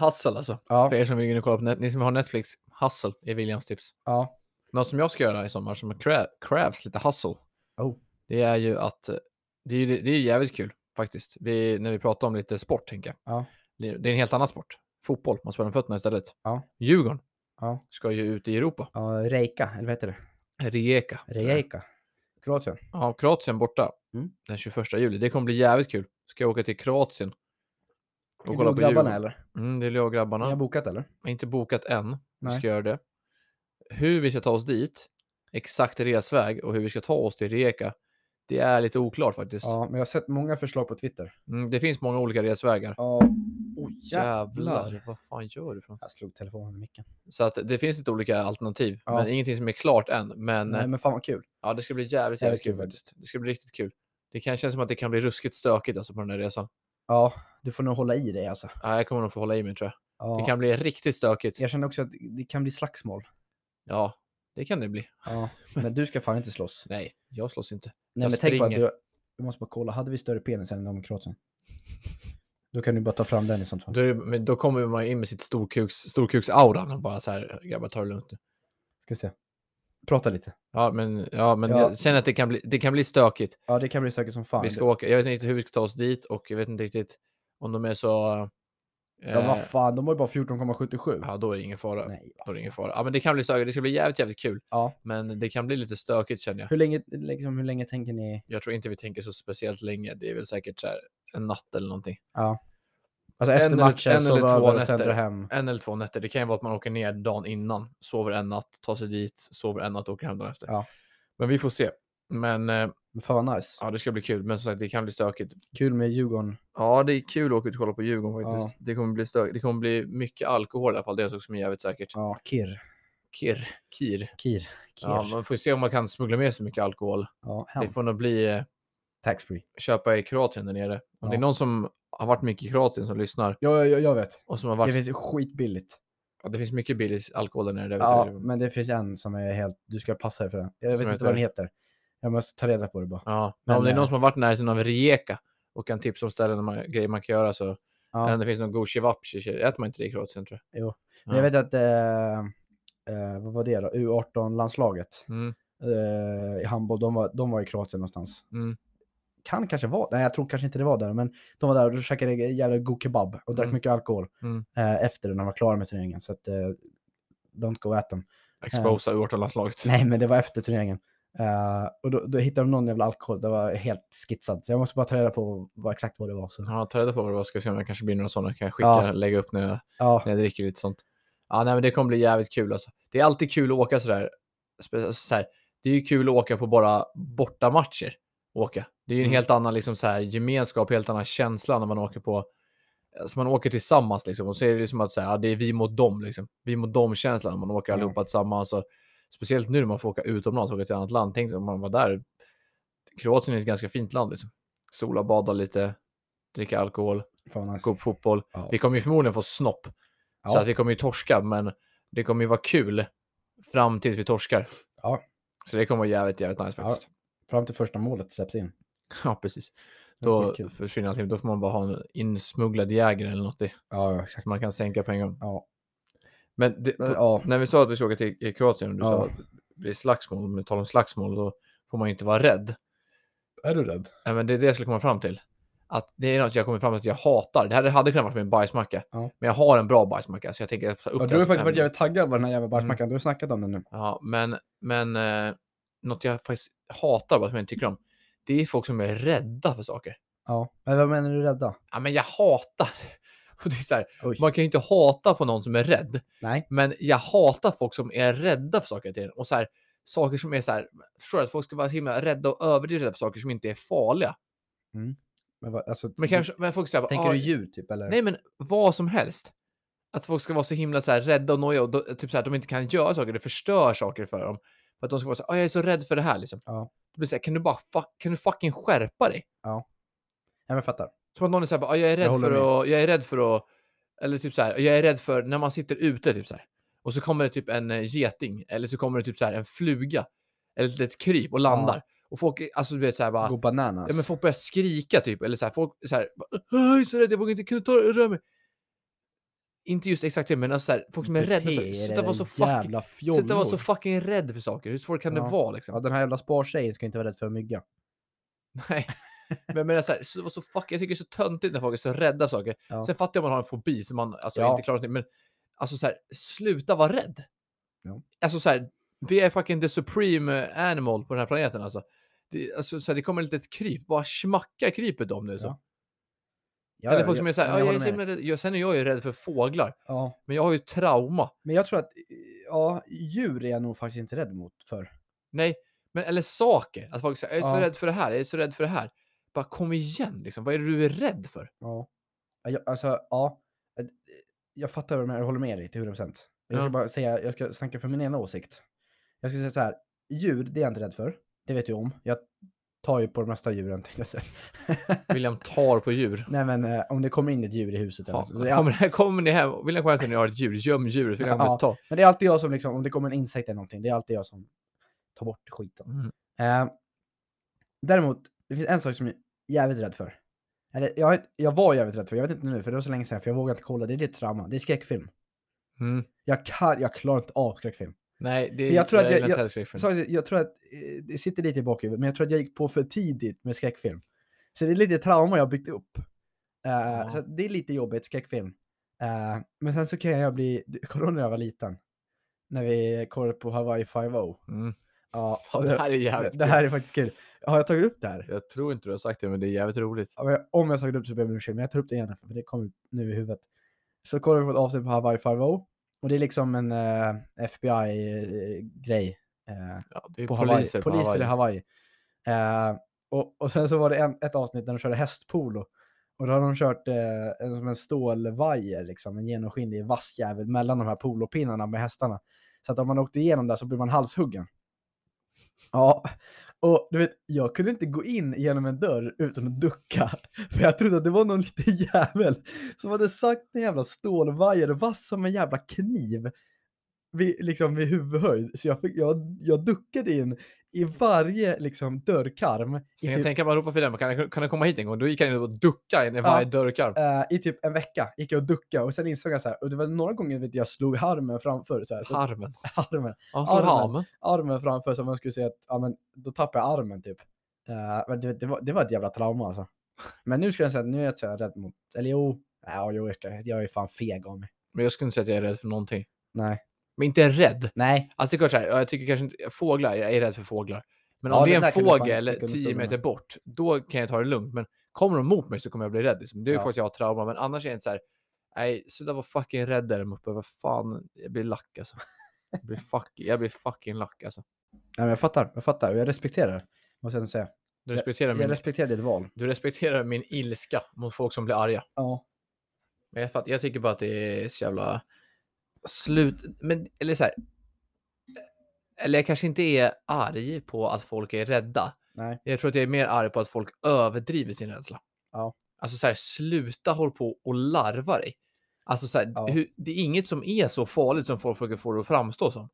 Hustle alltså. Ja, För er som vill gå in och kolla på net- ni som har Netflix, hustle är Williams tips. ja. Något som jag ska göra i sommar som krä- krävs lite hustle. Oh. Det är ju att eh, det är, ju- det är jävligt kul faktiskt. Vi, när vi pratar om lite sport tänker jag. Ja. Det det är en helt annan sport. Fotboll, man spelar med fötterna istället. Ja. Djurgården Ja. ska ju ut i Europa. ja Reika, eller vad heter det? Rijeka. tror jag. Rijeka. Kroatien. Ja, Kroatien borta Mm. den 21 juli. Det kommer bli jävligt kul. Ska jag åka till Kroatien Är och det kolla på grabbarna Djurgården. eller? Mm, det är jag och grabbarna. Ni har bokat eller? Jag har inte bokat än. Vi Nej. ska göra det. Hur vi ska ta oss dit, exakt resväg och hur vi ska ta oss till Rijeka, det är lite oklart faktiskt. Ja, men jag har sett många förslag på Twitter. Mm, det finns många olika resvägar. Ja. Oh, Jävlar, vad fan gör du? För något? Jag slog telefonen i micken. så att det finns lite olika alternativ, Ja. men ingenting som är klart än. Men, Nej, eh, men fan vad kul. ja, det ska bli jävligt, jävligt kul faktiskt. Det ska bli riktigt kul. Det kan kännas som att det kan bli ruskigt stökigt alltså, på den här resan. Ja, du får nog hålla i dig alltså. Ja, jag kommer nog få hålla i mig tror jag. Ja. Det kan bli riktigt stökigt. Jag känner också att det kan bli slagsmål. Ja, det kan det bli. [LAUGHS] Ja. Men du ska fan inte slåss. Nej, jag slåss inte. Nej, Jag men tänk på att springer. du... Jag måste bara kolla, hade vi större penis än de kroatsen? Då kan du bara ta fram den i sånt fall. Då, är det, men då kommer man ju in med sitt storkuks, storkuksaura och bara så här, grabbar ta det lugnt nu. Ska vi se. Prata lite. Ja, men, ja, men Ja. jag känner att det kan bli, det kan bli stökigt. Ja, det kan bli säkert som fan. Vi ska åka. Jag vet inte riktigt hur vi ska ta oss dit och jag vet inte riktigt om de är så... Eh, Ja, vad fan, de har ju bara 14,77. ja, då är det ingen fara. Nej, vad Då är det fan. ingen fara. Ja, men det kan bli stökigt. Det ska bli jävligt, jävligt kul. Ja. Men det kan bli lite stökigt känner jag. Hur länge, liksom, hur länge tänker ni? Jag tror inte vi tänker så speciellt länge. Det är väl säkert så här en natt eller någonting. Alltså En efter eller- matchen en eller sova två över och nätter. sen dra hem. En eller två nätter. Det kan ju vara att man åker ner dagen innan, sover en natt, tar sig dit, sover en natt och åker hem dagen efter. Ja. Men vi får se. Men eh, Men fan vad nice. ja, det ska bli kul. Men som sagt, det kan bli stökigt. Kul med Djurgården. Ja, det är kul att åka ut och kolla på Djurgården faktiskt. Det kommer bli stök. Det kommer bli mycket alkohol i alla fall. Det är en sak som är jävligt säkert. Ja, Kir. Kir. Kir. Kir. Kir. Ja, man får se om man kan smuggla med sig mycket alkohol. Ja, Det hem. får nog bli eh, Taxfree. köpa i Kroatien där nere. Om det är Ja. någon som har varit mycket i Kroatien som lyssnar Ja, ja, jag vet. och som har Det varit. finns skitbilligt. Ja, det finns mycket billig alkohol där nere. Det vet Ja, jag. men det finns en som är helt... Du ska passa dig för den. Jag Som vet inte vad den heter. Jag måste ta reda på det bara. Ja, men om Men, det är någon eh, som har varit i närheten av Rijeka och kan tipsa om ställen och man, grejer man kan göra så. Ja. Men det finns någon god cevapcici. Äter man inte det i Kroatien tror jag. Jo, Ja. Men jag vet att... Eh, eh, vad var det då? U18-landslaget Mm, eh, i handboll. De var, de var i Kroatien någonstans. mm. kan kanske vara, nej jag tror kanske inte det var där, men de var där och då käkade jävla god kebab och drack Mm. mycket alkohol Mm. eh, efter när de var klara med turneringen. Så att, eh, don't go at them. Exposa U18-landslaget. Nej, men det var efter turneringen. Eh, och då, då hittade de någon jävla alkohol, det var helt skitsad. Så jag måste bara ta reda på vad, exakt vad det var. Så. Ja, ta reda på vad det var. Ska se om det kanske blir några sådana. Kan jag skicka, Ja. lägga upp när jag, Ja, när jag dricker lite sånt. Ja, nej, men det kommer bli jävligt kul alltså. Det är alltid kul att åka sådär. Spe- Så här, det är ju kul att åka på bara bortamatcher. Åka. Det är ju en Mm. helt annan liksom, så här, gemenskap, helt annan känsla när man åker på Alltså man åker tillsammans liksom och så är det liksom att säga, ja, det är vi mot dem liksom. Vi mot dem känslan när man åker Ja. allihopa tillsammans. Och speciellt nu när man får åka utomlands, åka till ett annat land. Tänk om man var där. Kroatien är ett ganska fint land liksom. Sola, bada lite, dricka alkohol, fan vad nice. gå på fotboll. Ja. Vi kommer ju förmodligen få snopp. Så Ja. att vi kommer ju torska, men det kommer ju vara kul fram tills vi torskar. Ja. Så det kommer vara jävligt, jävligt nice Ja, faktiskt. [LAUGHS] fram till första målet släpps in. Ja, precis. Det var Då skitkul. försvinner allting. Då får man bara ha en insmugglad jäger eller något i- Ja, ja, exakt. som man kan sänka på en gång. Ja. Men det, Men, på- ja. när vi sa att vi ska åka till i Kroatien och du sa Ja. att det blir slagsmål, med tal om slagsmål, då får man ju inte vara rädd. Är du rädd? Nej, men det är det jag skulle komma fram till. Att det är något jag kommer fram till att jag hatar. Det här hade kunnat vara min bajsmacka. Ja. Men jag har en bra bajsmacka så jag tänker upp Ja, den du har ju som faktiskt varit ämne. jävligt taggad på den här jävla bajsmackan. Du har snackat om den nu. Ja, men, men eh, något jag faktiskt hatar, bara som jag inte tycker om, det är folk som är rädda för saker. Ja. Men vad menar du rädda? Ja, men jag hatar. [LAUGHS] Och det är så här, Oj. man kan ju inte hata på någon som är rädd, Nej. men jag hatar folk som är rädda för saker. Till och så här, saker som är så här, förstår du, att folk ska vara så himla rädda och överdrivet rädda för saker som inte är farliga. Men, vad- alltså, Men kanske, men folk "Ah, säger, Tänker du djur typ eller? nej men vad som helst. Att folk ska vara så himla så här, rädda och nojiga och då, typ så här, att de inte kan göra saker, det förstör saker för dem. För att de ska vara så här, "Ah, jag är så rädd för det här liksom. Ja. Det blir så här, kan du bara fuck, kan du fucking skärpa dig? Ja, men jag fattar. Som att någon är så här, bara, "Ah, jag är rädd håller för att, jag är rädd för att, eller typ så här, jag är rädd för när man sitter ute typ så här. Och så kommer det typ en eh, geting eller så kommer det typ så här en fluga eller ett litet kryp och landar. Och folk, är- alltså du vet så här bara, Gå bananas. ja, men folk börjar skrika typ eller så här, folk så här, bara, "Åh, jag är så rädd, jag vågar inte, kan du ta röra mig? Inte just exakt det, men alltså så här, folk som är rädda. så- Bete er, Sluta vara så fucking, jävla sluta vara fjollor. så fucking rädd för saker. Hur svårt kan det Ja. vara liksom? Ja, den här jävla spartjejen ska inte vara rädd för en mygga. Nej. Men jag menar så här, så, så fuck, jag tycker det är så töntigt när folk är så rädda för saker. Ja. Sen fattar jag om man har en fobi som man alltså, Ja. inte klarar någonting. Men alltså så här, sluta vara rädd. Ja. Alltså så här, vi är fucking the supreme eh, animal på den här planeten alltså. Det, alltså så här, det kommer ett litet kryp, bara smacka krypet om nu. Så. Ja, Ja, Eller ja, folk som är så här, men "Ja, jag håller är så med himla dig. rädd." Ja, sen är jag ju rädd för fåglar, Ja, men jag har ju trauma. men jag tror att ja, djur är jag nog faktiskt inte rädd mot för. Nej, men eller saker. Att folk säger, jag är så Ja. rädd för det här, jag är så rädd för det här. Bara kom igen liksom, vad är det du är rädd för? Ja. Ja, Jag, alltså, ja. eh, Jag fattar vad du menar, jag håller med dig till 100%. Jag ska Ja. bara säga, jag ska snacka för min ena åsikt. Jag ska säga så här, djur, det är jag inte rädd för. Det vet du om. Jag tar ju på de mesta djuren, tänkte jag säga. William tar på djur. Nej men eh, om det kommer in ett djur i huset. Eller, Ja, så, så, [LAUGHS] ja, kommer, här kommer ni hem, vill ni komma hem till när ni har ett djur, göm djuret, vill ni Ja. ja. ta. Men det är alltid jag som liksom, om det kommer en insekt eller någonting, det är alltid jag som tar bort skiten. Mm. Eh, däremot, det finns en sak som jag är jävligt rädd för. Eller jag, är- jag var jävligt rädd för, jag vet inte nu för det var så länge sedan för jag vågar inte kolla, det är lite trauma, det är skräckfilm. Mm. Jag, kan, jag klarar inte av skräckfilm. Nej, det, Jag tror att jag- gillar inte jag- heller skräckfilm. Så jag tror att eh, det sitter lite i bakhuvudet, men jag tror att jag gick på för tidigt med skräckfilm. Så det är lite trauma jag har byggt upp. Eh, Ja. Så att det är lite jobbigt, skräckfilm. Eh, men sen så kan jag bli, kommer du [LAUGHS] ihåg när jag var liten? När vi kollade på Hawaii 5 [LAUGHS] Mm. Ja, Ja, och det det, här är jävligt det här är faktiskt kul. Har jag tagit upp det här? kul. Jag tror inte du har sagt det, men det är jävligt roligt. Ja, men Om jag har tagit upp det så ber jag om ursäkt, men jag tar upp det igen för det kom nu i huvudet. Så kollar vi på ett avsnitt på Hawaii 5 och det är liksom en eh, FBI-grej. Ja, det är på poliser poliser, Hawaii. på poliser Hawaii. i Hawaii. Eh, och, och sen så var det en, ett avsnitt där de körde hästpolo. Och då har de kört eh, en, som en stålvajer, liksom, en genomskinlig vass jävel mellan de här polopinnarna med hästarna. Så att om man åkte igenom där så blev man halshuggen. Ja, och du vet, jag kunde inte gå in genom en dörr utan att ducka. [LAUGHS] För jag trodde att det var någon liten jävel som hade sagt en jävla stålvajer vass som en jävla kniv. Vid, liksom vid huvudhöjd. Så jag, fick, jag, jag duckade in i varje liksom dörrkarm. Så I jag typ- kan tänka mig att ropa för den, men kan, jag- kan du komma hit en gång? Då gick han in och duckade in i varje dörrkarm. eh, i typ en vecka gick jag och duckade och sen insåg jag så här, och det var några gånger vet, jag slog armen framför. Så här, så Harmen. armen, Ja, så Armen. harmen. armen framför så man skulle säga att ja, men, då tappar jag armen typ. Eh, men det, det, var, det var ett jävla trauma alltså. Men nu skulle jag säga att nu är jag inte så här rädd mot, eller jo, ja, jo jag, ska- jag är fan feg av mig. Men jag skulle inte säga att jag är rädd för någonting. Nej. Men inte rädd. Nej, Alltså det är klart så här, ja, jag tycker kanske inte, fåglar, jag är rädd för fåglar. Men Ja, om det den är där en kan du fan fågel sticka under 10 stolen med. meter bort, då kan jag ta det lugnt. Men kommer de mot mig så kommer jag bli rädd. Liksom. Det är ju Ja. för att jag har trauma, men annars är jag inte så här, nej, sluta vara fucking rädd där uppe. Vad fan, jag blir lack alltså. Jag blir fucking, jag blir fucking lack alltså. Nej men jag fattar, jag fattar och jag respekterar det. Måste jag ändå säga. Du respekterar, Jag min, respekterar ditt val. du respekterar min ilska mot folk som blir arga. Ja. Men jag, fattar, jag tycker bara att det är så jävla slut. Men, eller så här. Eller jag kanske inte är arg på att folk är rädda. Nej. Jag tror att jag är mer arg på att folk överdriver sin rädsla. Ja. Alltså så här, sluta håll på och larva dig. Alltså så här, Ja. hur, det är inget som är så farligt som folk försöker få det att framstå som.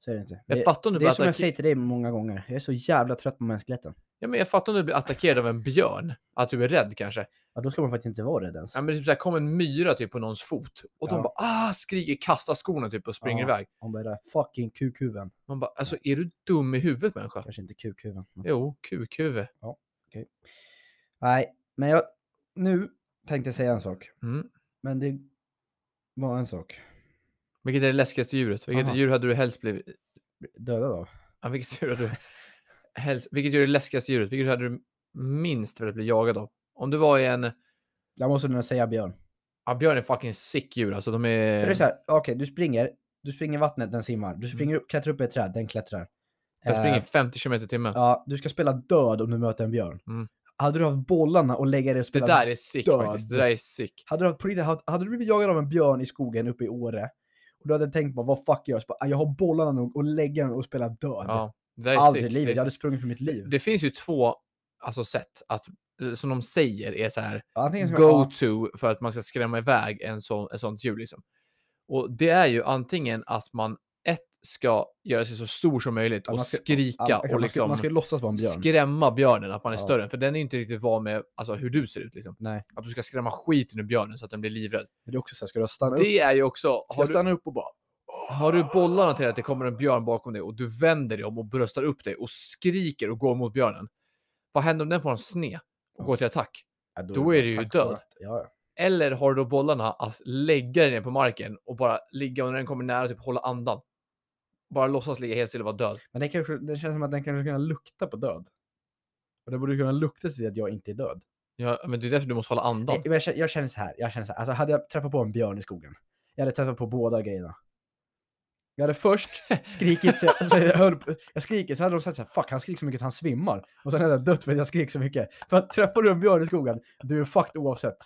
Så är det inte. Jag Det, fattar om du det blir är som jag attacke- säger till dig många gånger. Jag är så jävla trött på mänskligheten. ja, men jag fattar om du blir attackerad av en björn. Att du är rädd kanske. Ja, då ska man faktiskt inte vara rädd ens. Ja, men typ så här, kom en myra typ på någons fot. Och de Ja. bara ah, skriker, kastar skorna typ och springer Ja. iväg. Om bara fucking kukhuven. Man bara, alltså är du dum i huvudet människa? Kanske inte kukhuven. men- Jo, kukhuvud. Nej, men jag... Nu tänkte jag säga en sak. Mm. Men det var en sak. Vilket är det läskigaste djuret? Vilket Aha. djur hade du helst blivit... Döda då? Ja, vilket djur hade du helst... Vilket djur är det läskigaste djuret? Vilket hade du minst velat bli jagad av? Om du var i en... Jag måste nog säga björn. Ja, björn är fucking sick djur. Alltså de är... För det är så här, okej, du springer. Du springer i vattnet, den simmar. Du springer upp, klättrar upp i ett träd, den klättrar. De Mm. springer Eh, 50 km i timmen. ja, du ska spela död om du möter en björn. Mm. Hade du haft bollarna och lägga det och det spela där är sick död. faktiskt. Det där är sick. Hade du, haft- på riktigt, hade, hade du blivit jagad av en björn i skogen uppe i Åre och du hade tänkt bara vad fuck gör jag? Så bara, "Ah, Jag har bollarna nog och lägga den och spela död. Ja, det där är Aldrig i sick. Det livet, är jag hade sprungit för mitt liv. Det finns ju två alltså, sätt att, som de säger är så här. Antingen ska go man, to för att man ska skrämma iväg en sån, ett sånt djur. Liksom. Och det är ju antingen att man ett ska göra sig så stor som möjligt Ja, och man ska- skrika ja, och man, ska, liksom man ska ju låtsas vara en björn. skrämma björnen, att man är Ja. större. än- För den är inte riktigt van med alltså, hur du ser ut. Liksom. Nej. Att du ska skrämma skiten ur björnen så att den blir livrädd. Men det är också så här, ska du stanna upp? Det är ju också, Ska har jag du, stanna upp och bara har du bollarna till att det kommer en björn bakom dig och du vänder dig om och bröstar upp dig och skriker och går mot björnen. Vad händer om den får en sne och går till attack? Ja, då, Då är bara det ju tack död. för- Ja, ja. Eller har du då bollarna att lägga dig ner på marken och bara ligga och när den kommer nära typ hålla andan? Bara låtsas ligga helt stilla och vara död. Men den kanske, det känns som att den kanske kan lukta på död. Och det borde kunna lukta till att jag inte är död. Ja, men det är därför du måste hålla andan. Nej, men Jag, känner, jag känner så här, jag känner så här. Alltså hade jag träffat på en björn i skogen, jag hade träffat på båda grejerna. Jag [LAUGHS] hade först skrikit så jag, [LAUGHS] så jag, höll, på- jag skriker så hade de sagt så här, fuck han skriker så mycket att han svimmar. Och sen hade jag dött för att jag skrek så mycket. För att träffar du en björn i skogen, du är fucked oavsett.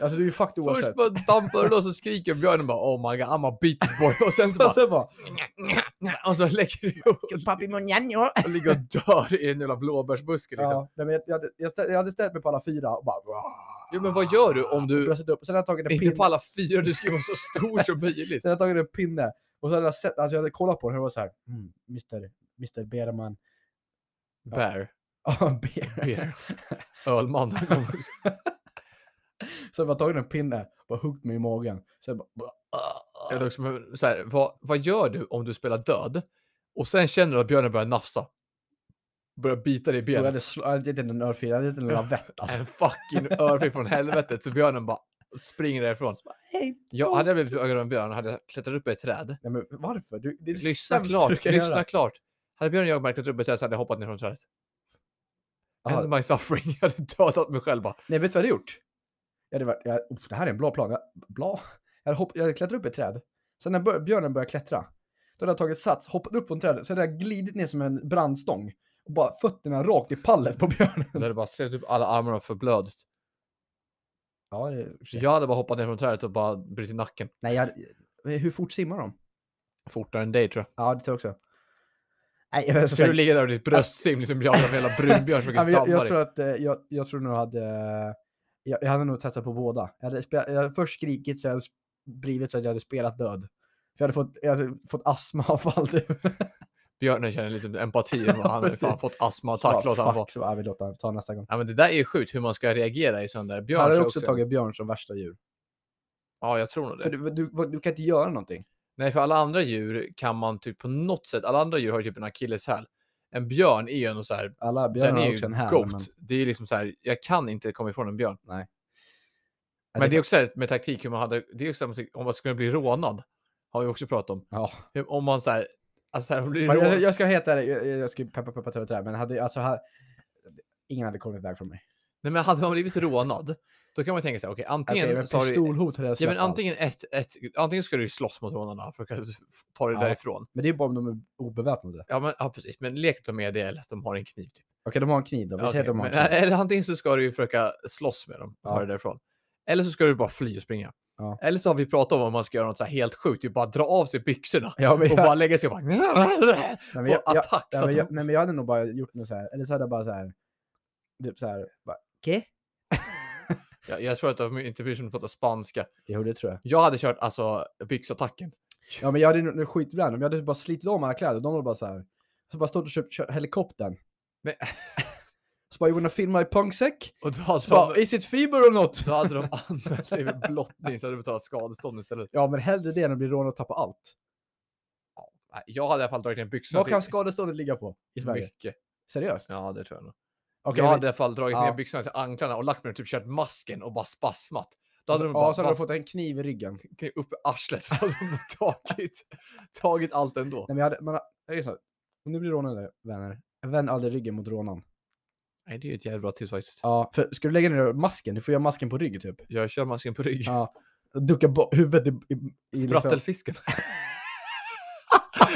Alltså du är fucked oavsett. Först bara dampar du loss och skriker och björnen bara oh my god I'm a beatles boy [LAUGHS] och sen så bara Och sen Alltså, bara, och så lägger du upp papi monjano. och ligger och dör i en jävla blåbärsbuske liksom. Ja, nej, men jag, jag, hade, jag, ställ, jag hade ställt mig på alla fyra och bara... Jo men vad gör du om du Bröstet upp. Och sen hade jag tagit en inte pinne. på alla fyra, du ska ju vara så stor som möjligt. [LAUGHS] Sen hade jag typ, tagit en pinne. Och så hade jag sett, alltså jag hade kollat på den och det var så här, mm, Mr. Mr. Berman. Bear, [LAUGHS] Ja, [LAUGHS] Bear. bear, ölman. Så jag bara tagit en pinne och bara huggit mig i magen. Så jag bara... Jag vet också, men så här, vad, vad gör du om du spelar död och sen känner du att björnen börjar nafsa? Börjar bita dig i Jag benet. hade sl- jag hade gett den en örfil, jag hade gett den en Ja. lavett alltså. En fucking örfil från helvetet så björnen bara springer därifrån. Hej Jag, hade jag blivit jagad av en björn hade jag klättrat upp i ett träd. Nej, men varför? Du, det är det Lyssna sämsta du klart, kan lyssna göra. klart. Hade björnen jagat mig och klättrat upp i ett träd så hade jag hoppat ner från trädet. Aha. End my suffering. [LAUGHS] Jag hade dödat mig själv bara. Nej, vet du vad jag hade gjort? Jag hade varit, jag, oh, det här är en bra plan. Jag, bla. jag, hade hopp, jag hade klättrat upp i ett träd. Sen när bör, björnen började klättra, då hade jag tagit sats, hoppat upp från trädet, sen hade jag glidit ner som en brandstång. Och bara fötterna rakt i pallet på Då björnen. hade jag bara sett upp alla armarna och förblödigt. Ja, det är- Jag hade bara hoppat ner från trädet och bara brutit nacken. Nej, jag, men hur fort simmar de? Fortare än dig tror jag. Ja, det tror jag också. Nej, jag, som Ska du sagt, ligga där och ditt bröstsim liksom jagar med hela brunbjörn som försöker ja, men jag, damma jag dig? tror att eh, jag, jag tror nog hade... eh, Jag, jag hade nog testat på båda. Jag hade, spe, jag hade först skrikit så jag hade sp- blivit så att jag hade spelat död. För jag hade fått, jag hade fått astmaanfall. typ. Björnen känner lite empati. om att Han har fan fått [LAUGHS] Ja, astmaattack. låt han vara. fuck, så, ja, vi låter han ta nästa gång. Ja, men det där är ju sjukt hur man ska reagera i sån där. Jag Björn hade tror också jag tagit björn som värsta djur. Ja, jag tror nog För det. du, du, vad- du kan inte göra någonting. Nej, för alla andra djur kan man typ på något sätt. Alla andra djur har ju typ en akilleshäl. En björn är ju ändå så här. Alla Den björnar är har ju också en häl. goat. men- Det är ju liksom så här. Jag kan inte komma ifrån en björn. Ja, Men det är också så här med taktik hur man hade. Det är också samma sak, om man skulle bli rånad. Har vi också pratat om. Ja. Hur, om man så här. Alltså så här, om du blir Fan, Jag, rånad. jag ska heta det, jag, jag ska peppa peppa törra trä, men hade, alltså, här, ingen hade kommit iväg från mig. Nej, men hade man blivit rånad. Då kan man tänka sig. Okej, antingen Okej, men så har du pistolhot hade jag Ja, släppt men antingen, allt. ett, ett, antingen ska du ju slåss mot rånarna för att kunna ta dig Ja. därifrån. Men det är ju bara om de är obeväpnade. Okej, Ja, men, ja, precis. Men lek att de är det eller att de har en kniv. Typ. de har en kniv då. Vi Okej, säger att de har en men, eh, kniv. eller antingen så ska du ju försöka slåss med dem och ta Ja. dig därifrån. Eller så ska du bara fly och springa. Ja. Eller så har vi pratat om om man ska göra något så här helt sjukt, typ bara dra av sig byxorna Ja, men och jag, bara lägga sig och bara... nej, men Få jag, jag, attack. så nej, men att jag, de- nej, men jag hade nog bara gjort något så här, eller så hade jag bara så här, typ så här, bara, okej? Jag- Jag tror att de inte bryr sig om att prata spanska. Jo, det tror jag. Jag hade kört alltså byxattacken. Ja men jag hade nog skitrandom, jag hade bara slitit av mig alla kläder, de var bara så här. Så bara stått och köpt kört helikoptern. Men- Så bara you wanna film my punksäck? Och då hade, Så bara de, is it fever or not? då hade de anmält dig för blottning så hade du betalat skadestånd istället. Ja men hellre det än att bli rånad och tappa allt. Nej, Jag hade i alla fall dragit ner byxorna. Vad till- kan skadeståndet ligga på i Sverige? Mycket. Seriöst? Ja, det tror jag nog. Okej, jag men- hade i alla fall dragit ja. ner byxorna till anklarna och lagt mig och typ kört masken och bara spasmat. Då hade de bara, Alltså, ja, så hade bara de fått en kniv i ryggen. Nej, fått upp i arslet så hade de [LAUGHS] tagit, tagit allt ändå. men jag hade, man, jag är så här, om du blir rånad vänner, vänd aldrig ryggen mot rånaren. Nej, det är ju ett jävla bra tips faktiskt. Ja, för ska du lägga ner masken, du får göra masken på ryggen typ. Jag kör masken på rygg. Ja. Och Ducka bo- huvudet i... i, i liksom- Sprattelfisken. [LAUGHS]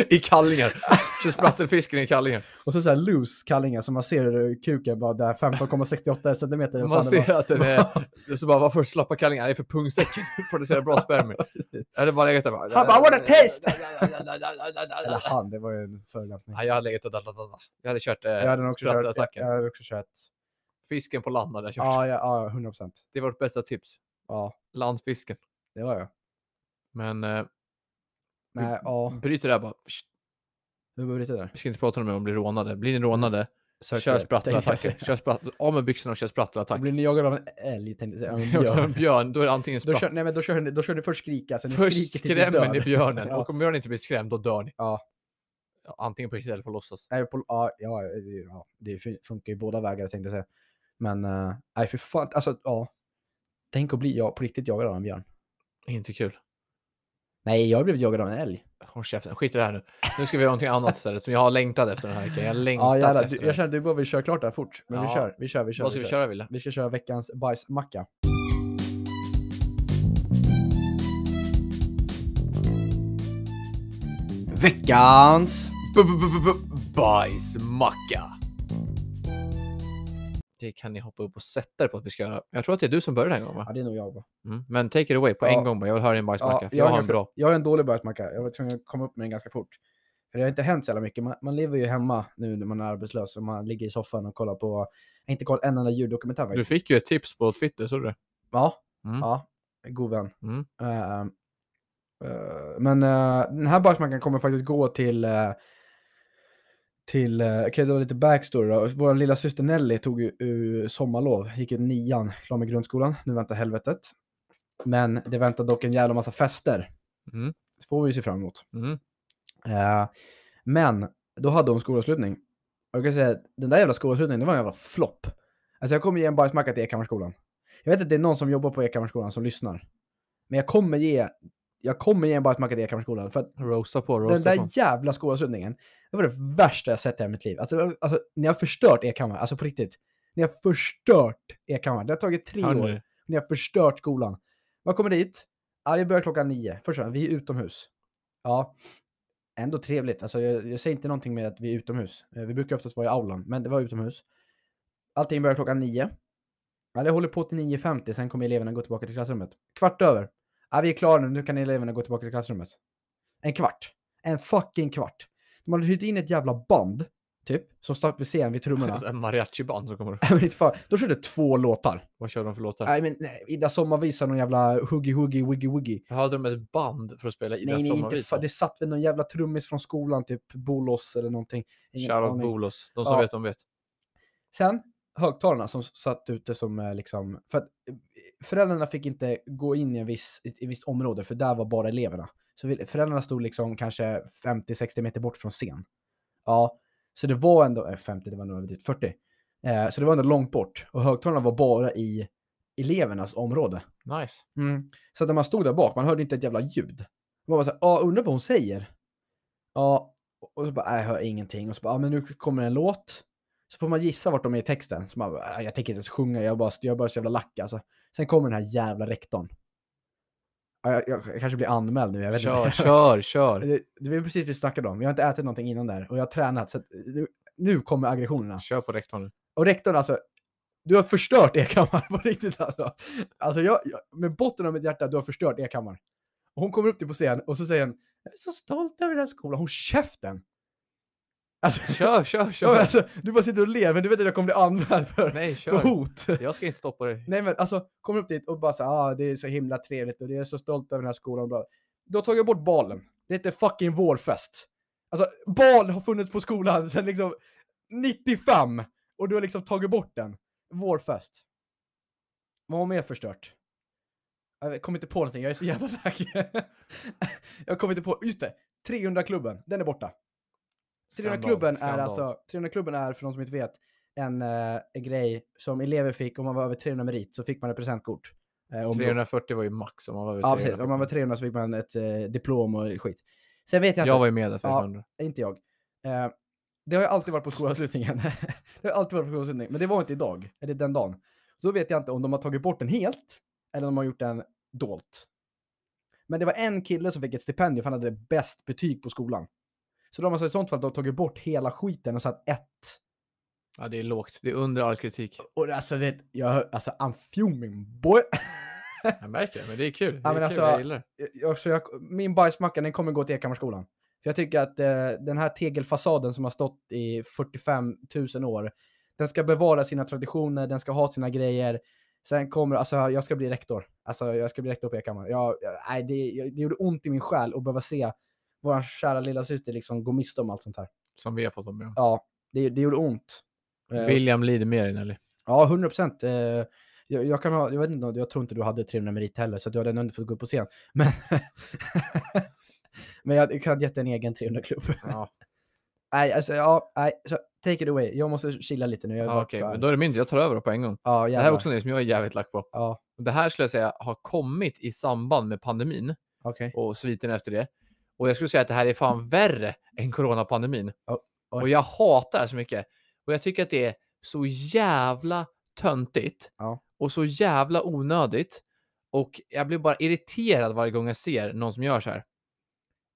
I kallingar. Kör sprattelfisken i kallingar. Och så, så här loose kallingar så man ser eh, kuken bara där 15,68 centimeter. Man ser att den är... Så bara, varför slappa kallingar? Det är för pungsäcken. Producerar bra [LAUGHS] spermier. Jag hade bara legat där bara... Han bara, "What a [LAUGHS] taste!" Eller taste! han, det var ju en förolämpning. Jag hade legat och... dadadada. Jag hade kört Jag hade eh, nog också kört... Jag, sprattelattacken. jag hade också kört... Fisken på land hade jag kört. Ja, ja, ja, 100 procent. Det var vårt bästa tips. Ja, Landfisken. det var jag. Men eh, Nej, ja. bryt det där bara. Psst, Hur började det där? Vi ska inte prata om det om blir rånade. Blir ni rånade, kör sprattelattacker. Kör spratt- av med byxorna och kör sprattelattack. [LAUGHS] Blir ni jagade av en älg tänkte jag säga. Om av en En björn. björn, då är det antingen Då spratt. kör, nej, men då kör, ni, då kör ni först skrika, sen ni Först skriker tills ni skrämmer dör. ni björnen Ja. och om björnen inte blir skrämd, då dör ni. Ja. Ja, Antingen på riktigt eller på låtsas. Nej, på, ja, ja, det- ja, det fun- funkar ju båda vägar tänkte jag säga. Men eh, nej, för fan. Alltså, ja. Tänk att bli jag, på riktigt jagad av en björn. Inte kul. Nej, jag har blivit jagad av en älg. Håll käften, skit i det här nu. Nu ska vi göra någonting annat istället som jag har längtat efter den här veckan. Jag har längtat Ja, jävlar, efter du, den. jag känner att du bara vill köra klart det här fort. Men vi Ja. kör, vi kör, vi kör. Vad ska vi köra Wille? Vi ska köra veckans bajsmacka. Veckans! Bajsmacka. Det kan ni hoppa upp och sätta er på att vi ska göra. Jag tror att det är du som börjar den här gången. Ja, va? det är nog jag. va? Mm. Men take it away på Ja. en gång bara. Jag vill höra din bajsmacka. Ja, för jag har en ganska, bra. jag har en dålig bajsmacka. Jag var tvungen att komma upp med den ganska fort. För det har inte hänt så jävla mycket. Man, man lever ju hemma nu när man är arbetslös och man ligger i soffan och kollar på... Jag har inte kollat en enda ljuddokumentär Du faktiskt. fick ju ett tips på Twitter, såg du det? Ja, Mm. ja. God vän. Mm. Eh, eh, men eh, den här bajsmackan kommer faktiskt gå till... eh, till, eh, okej det var lite backstory då. Vår lilla syster Nelly tog ju ur sommarlov, gick ut nian, klar med grundskolan. Nu väntar helvetet. Men det väntar dock en jävla massa fester. Mm. Det får vi ju se fram emot. Mm. Eh, men då hade hon skolavslutning. Och jag kan säga att den där jävla skolavslutningen, det var en jävla flopp. Alltså jag kommer ge en bajsmacka till Ekhammarskolan. Jag vet att det är någon som jobbar på Ekhammarskolan som lyssnar. Men jag kommer ge, jag kommer ge en bajsmacka till Ekhammarskolan. För att Rosa på, rosa den där på. jävla skolavslutningen, det var det värsta jag sett i hela mitt liv. Alltså, det var- alltså ni har förstört Ekhammar, alltså på riktigt. Ni har förstört Ekhammar. Det har tagit tre Hör år. [LAUGHS] nu. Ni har förstört skolan. Man kommer dit. Ja, vi börjar klockan nio. Först och främst, vi är utomhus. Ja, ändå trevligt. Alltså, jag, jag säger inte någonting med att vi är utomhus. Eh, Vi brukar oftast vara i aulan, men det var utomhus. Allting börjar klockan nio. Ja, det håller på till 9.50, sen kommer eleverna gå tillbaka till klassrummet. Kvart över. Ja, vi är klara nu, nu kan eleverna gå tillbaka till klassrummet. En kvart. En fucking kvart. De hade hyrt in ett jävla band, typ, som stack vid scen [LAUGHS] vid trummorna. Så här Mariachi-band som kommer. och- Men inte fan, De körde två låtar. Vad kör de för låtar? Nej men nej, Ida Sommarvisa någon jävla huggy huggy wiggy wiggy. Jag hade de ett band för att spela i Nej den nej, inte fa- sommarvisan. det satt väl någon jävla trummis från skolan, typ Bolos eller någonting. Ingen Shoutout aning. Bolos. De som Ja. vet, de vet. Sen högtalarna som s- satt ute som eh, liksom, för att eh, föräldrarna fick inte gå in i, en viss, i ett i ett visst område för där var bara eleverna. Så vi- föräldrarna stod liksom kanske 50-60 meter bort från scen. Ja, så det var ändå, eh, 50 det var nog överdrivet, 40. Eh, så det var ändå långt bort och högtalarna var bara i elevernas område. Nice. Mm. Så att när man stod där bak, man hörde inte ett jävla ljud. Man var såhär, ja undrar vad hon säger. Ja, och så bara, "Nej, jag hör ingenting. Och så bara, ja men nu kommer en låt. Så får man gissa vart de är i texten. Så man bara, "Nej, jag tänker inte ens sjunga, jag är bara, jag är bara så jävla lack alltså. Sen kommer den här jävla rektorn. Ja, jag, jag, jag kanske blir anmäld nu, jag vet Kör, inte. [LAUGHS] kör, kör. Det, det var precis det vi snackade om, jag har inte ätit någonting innan där och jag har tränat. Så att, nu, nu kommer aggressionerna. Kör på rektorn nu. Och rektorn alltså, du har förstört Ekhammar [LAUGHS] på riktigt alltså. Alltså jag, jag, med botten av mitt hjärta, du har förstört Ekhammar. Och hon kommer upp till på scen och så säger hon, jag är så stolt över den här skolan, hon käften! Alltså, Kör, kör, [LAUGHS] ja, men kör. alltså, du bara sitter och ler, men du vet att jag kommer bli anmäld för, Nej, för kör. hot. Jag ska inte stoppa dig. Nej men alltså, kommer upp dit och bara så här, ah, det är så himla trevligt och jag är så stolt över den här skolan. och bla, bla." Du har tagit bort balen. Det heter fucking vårfest. Alltså, bal har funnits på skolan sedan liksom 95 och du har liksom tagit bort den. Vårfest. Vad har mer förstört? Jag vet- kommer inte på någonting, jag är så jävla [LAUGHS] lack. jag kommer inte på, just det! 300-klubben, den är borta. Skandal, 300-klubben är skandal. alltså, 300-klubben är för de som inte vet, en, eh, en grej som elever fick om man var över 300 merit så fick man ett presentkort. Eh, om- 340 var ju max om man var över Ja, 340. precis. Om man var 300 så fick man ett eh, diplom och skit. Sen vet jag inte, Jag var ju med där Ja. 500. inte jag. Eh, det har ju alltid varit på skolavslutningen. [LAUGHS] det har alltid varit på skolavslutningen, men det var inte idag, eller den dagen. Så då vet jag inte om de har tagit bort den helt eller om de har gjort den dolt. Men det var en kille som fick ett stipendium för han hade bäst betyg på skolan. Så de har alltså i sånt fall då tagit bort hela skiten och satt ett Ja. det är lågt. Det är under all kritik. Och alltså vet, jag hör, alltså I'm fuming boy. Jag märker det, men det är kul. Det är men kul, alltså- jag gillar det. jag, så jag, min bajsmacka den kommer gå till Ekhammarskolan. För jag tycker att eh, den här tegelfasaden som har stått i 45 000 år, den ska bevara sina traditioner, den ska ha sina grejer. Sen kommer, alltså jag ska bli rektor. Alltså jag ska bli rektor på Ekhammar. Jag, jag, nej, det, jag, det gjorde ont i min själ att behöva se vår kära lilla syster liksom gå miste om allt sånt här. Som vi har fått vara med om. Ja, det, det gjorde ont. Eh, och William lider mer än Nelly. Ja, 100 procent. Eh, Jag, jag, kan ha, jag, vet inte, om- jag tror inte du hade 300 merit heller, så att du hade ändå inte fått gå upp på scen. [LAUGHS] Men, men jag hade kunnat gett dig en egen 300-klubb. [LAUGHS] Ja, [LAUGHS] Nej, alltså, ja, nej, så take it away. Jag måste chilla lite nu. Jag är ja bara okej. för- Men då är det min tur. Jag tar över då på en gång. ja, Det här är också något som jag är jävligt lack på. Ja, Och Det här skulle jag säga har kommit i samband med pandemin okej. och sviten efter det. Och jag skulle säga att det här är fan värre än coronapandemin. Ja, oj. Och jag hatar det här så mycket. Och jag tycker att det är så jävla töntigt Ja. och så jävla onödigt. Och jag blir bara irriterad varje gång jag ser någon som gör så här.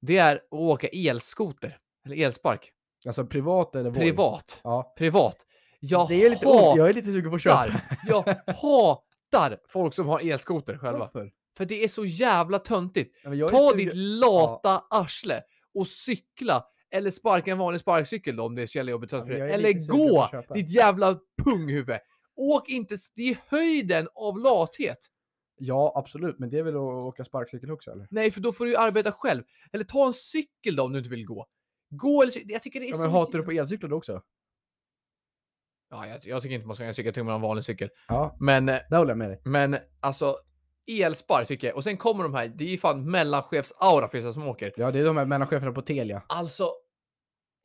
Det är att åka elskoter eller elspark. Alltså privat eller vår? Privat. Ja. Privat. Jag det är lite ont. Jag är lite sugen på att köpa. hatar, jag hatar folk som har elskoter själva. [LAUGHS] Varför? För det är så jävla töntigt. Ja, men jag är Ta sugen- ditt lata arsle och cykla. Eller sparka en vanlig sparkcykel då, om det är så jävla jobbigt. Ja, men jag är eller lite sugen på gå, att köpa. ditt jävla punghuvud. Åk inte, s- det är höjden av lathet. Ja, absolut. Men det är väl att åka sparkcykel också, eller? Nej, för då får du ju arbeta själv. Eller ta en cykel då om du inte vill gå. Gå eller cyk- Jag tycker det är Ja, så... men hatar du på elcyklar då också? Ja, jag, jag tycker inte man ska ha en cykel, jag tycker man har en vanlig cykel. Ja, Men, eh, där håller jag med dig. men alltså, elspark tycker jag. Och sen kommer de här, det är ju fan mellanchefs-aura på vissa som åker. Ja, det är de här mellancheferna på Telia. Alltså,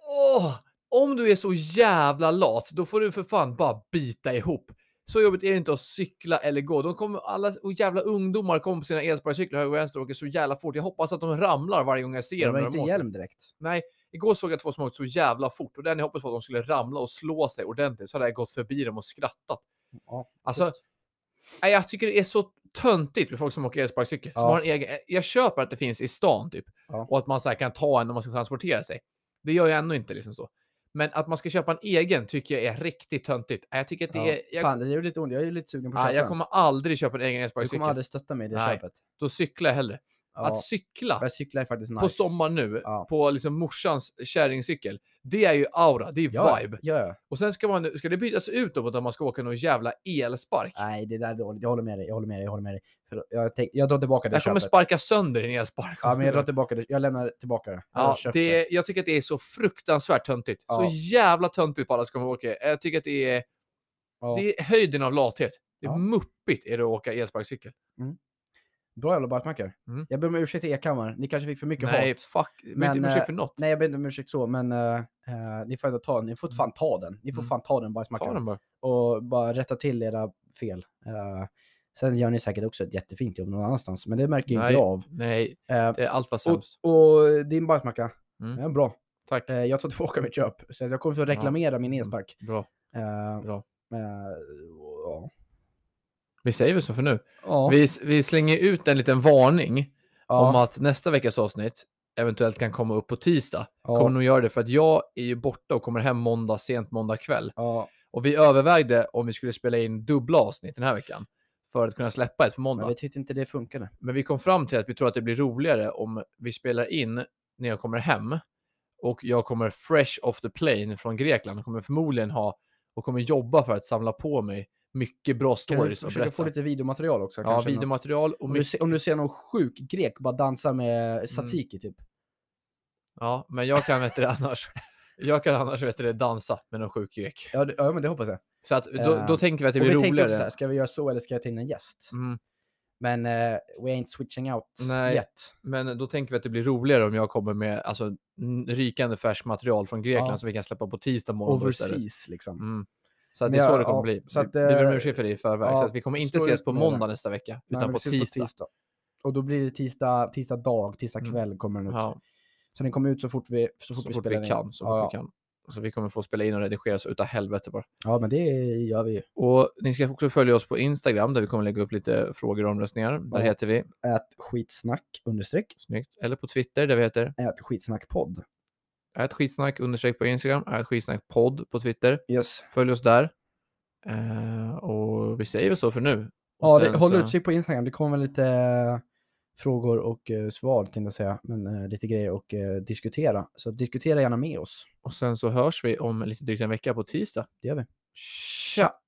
åh! Om du är så jävla lat, då får du för fan bara bita ihop. Så jobbigt är det inte att cykla eller gå. De kommer, alla och jävla ungdomar kommer på sina elsparkcyklar höger och vänster och åker så jävla fort. Jag hoppas att de ramlar varje gång jag ser De dem. har när inte åker. hjälm direkt. Nej, igår såg jag två som åkte så jävla fort och den jag hoppades på att de skulle ramla och slå sig ordentligt. Så hade jag gått förbi dem och skrattat. Ja, Alltså, just. nej, jag tycker det är så töntigt med folk som åker elsparkcykel. Som Ja. har en egen, jag köper att det finns i stan typ. Ja. Och att man så här, kan ta en när man ska transportera sig. Det gör jag ändå inte liksom så. Men att man ska köpa en egen tycker jag är riktigt töntigt. Nej, Jag tycker att det ja. är... Jag, Fan, det gör lite ont. Jag är ju lite sugen på att nej, köpa jag en. kommer aldrig köpa en egen Du elsparkcykel. kommer aldrig stötta mig i det Nej. köpet. Då cyklar jag hellre. Ja. Att cykla Jag cyklar är faktiskt nice. på sommar nu, Ja. på liksom morsans kärringcykel, det är ju aura, det är ja, vibe. Ja, ja. Och sen ska, man, ska det bytas ut då mot att man ska åka någon jävla elspark. Nej, det där är dåligt. Jag håller med dig. Jag håller med dig. Jag håller med dig. För jag, tänk, jag drar tillbaka det jag kommer köpet. sparka sönder din elspark. Ja, men jag drar tillbaka det. Jag lämnar tillbaka det. Jag har Ja, köpt det, jag tycker att det är så fruktansvärt töntigt. Ja. Så jävla töntigt på alla ska man åka. Jag tycker att det är, Ja. det är höjden av lathet. Det är Ja. muppigt är det att åka elsparkcykel. Bra jävla barkmackor. Mm. Jag ber om ursäkt till Ekhammar. Ni kanske fick för mycket Nej, hat. fuck. Men, Men, men inte ursäkt eh, för något. Nej, jag ber inte om ursäkt så, men eh, eh, ni får ändå ta den. Ni får fan ta den. Ni får Mm. fan ta den Ta barkmackan. den bara. Och bara rätta till era fel. Eh, sen gör ni säkert också ett jättefint jobb någon annanstans, men det märker ju inte Nej. jag av. Nej, Eh, det är allt var och, sämst. och din barkmacka, Mm. den är bra. Tack. Eh, jag tar tillbaka mitt köp, så att jag kommer få reklamera min elspark. Bra, Eh, Mm. bra. eh, ja. Vi säger väl så för nu. Ja. Vi, vi slänger ut en liten varning Ja. om att nästa veckas avsnitt eventuellt kan komma upp på tisdag. Ja. Kommer nog göra det för att jag är ju borta och kommer hem måndag, sent måndag kväll. ja. Och vi övervägde om vi skulle spela in dubbla avsnitt den här veckan för att kunna släppa ett på måndag. Men vi tyckte inte det funkade. Men vi kom fram till att vi tror att det blir roligare om vi spelar in när jag kommer hem och jag kommer fresh off the plane från Grekland och kommer förmodligen ha och kommer jobba för att samla på mig mycket bra Kan vi stories och försöka få berätta. lite videomaterial också? Ja, kanske, något? videomaterial och Om du, mycket. Mm. se, om du ser någon sjuk grek bara dansa med tzatziki typ. Ja, men jag kan vet det [LAUGHS] annars. Jag kan annars vet det dansa med någon sjuk grek. Ja, det, ja men det hoppas jag. Så att då, Eh, då tänker vi att det och vi blir tänkte också så här, roligare. ska vi göra så eller ska jag ta in en gäst? Mm, Men eh, we ain't switching out Nej. yet. men då tänker vi att det blir roligare om jag kommer med alltså, n- rykande färskt material från Grekland Ja. som vi kan släppa på tisdag morgon. då istället. Overseas liksom. Mm. Så att Men det är så ja, det kommer ja, bli. så att, vi, vi ber eh, om ursäkt för det i förväg. ja, så att vi kommer inte stå ses ut på med det. måndag nästa vecka, Nej, utan men på vi ses tisdag. Och då blir det tisdag, tisdag dag, tisdag Mm. kväll kommer den ut. Ja, Så den kommer ut så fort vi, så fort så vi fort spelar vi in. kan. Så ja. fort vi kan. Så vi kommer få spela in och redigera så utav helvete bara. ja, men det gör vi ju. Och ni ska också följa oss på Instagram där vi kommer lägga upp lite frågor och omröstningar. Där Ja. heter vi Ät skitsnack understreck. Snyggt. Eller på Twitter där vi heter Ät skitsnack podd. ät skitsnack understreck på Instagram, ät skitsnack podd på Twitter. Yes. Följ oss där. Eh, och vi säger väl så för nu. Och Ja, sen det, håll så- utkik på Instagram. Det kommer lite eh, frågor och eh, svar tänkte jag säga, men eh, lite grejer och eh, diskutera. Så diskutera gärna med oss. Och sen så hörs vi om lite drygt en vecka på tisdag. Det gör vi. Tja!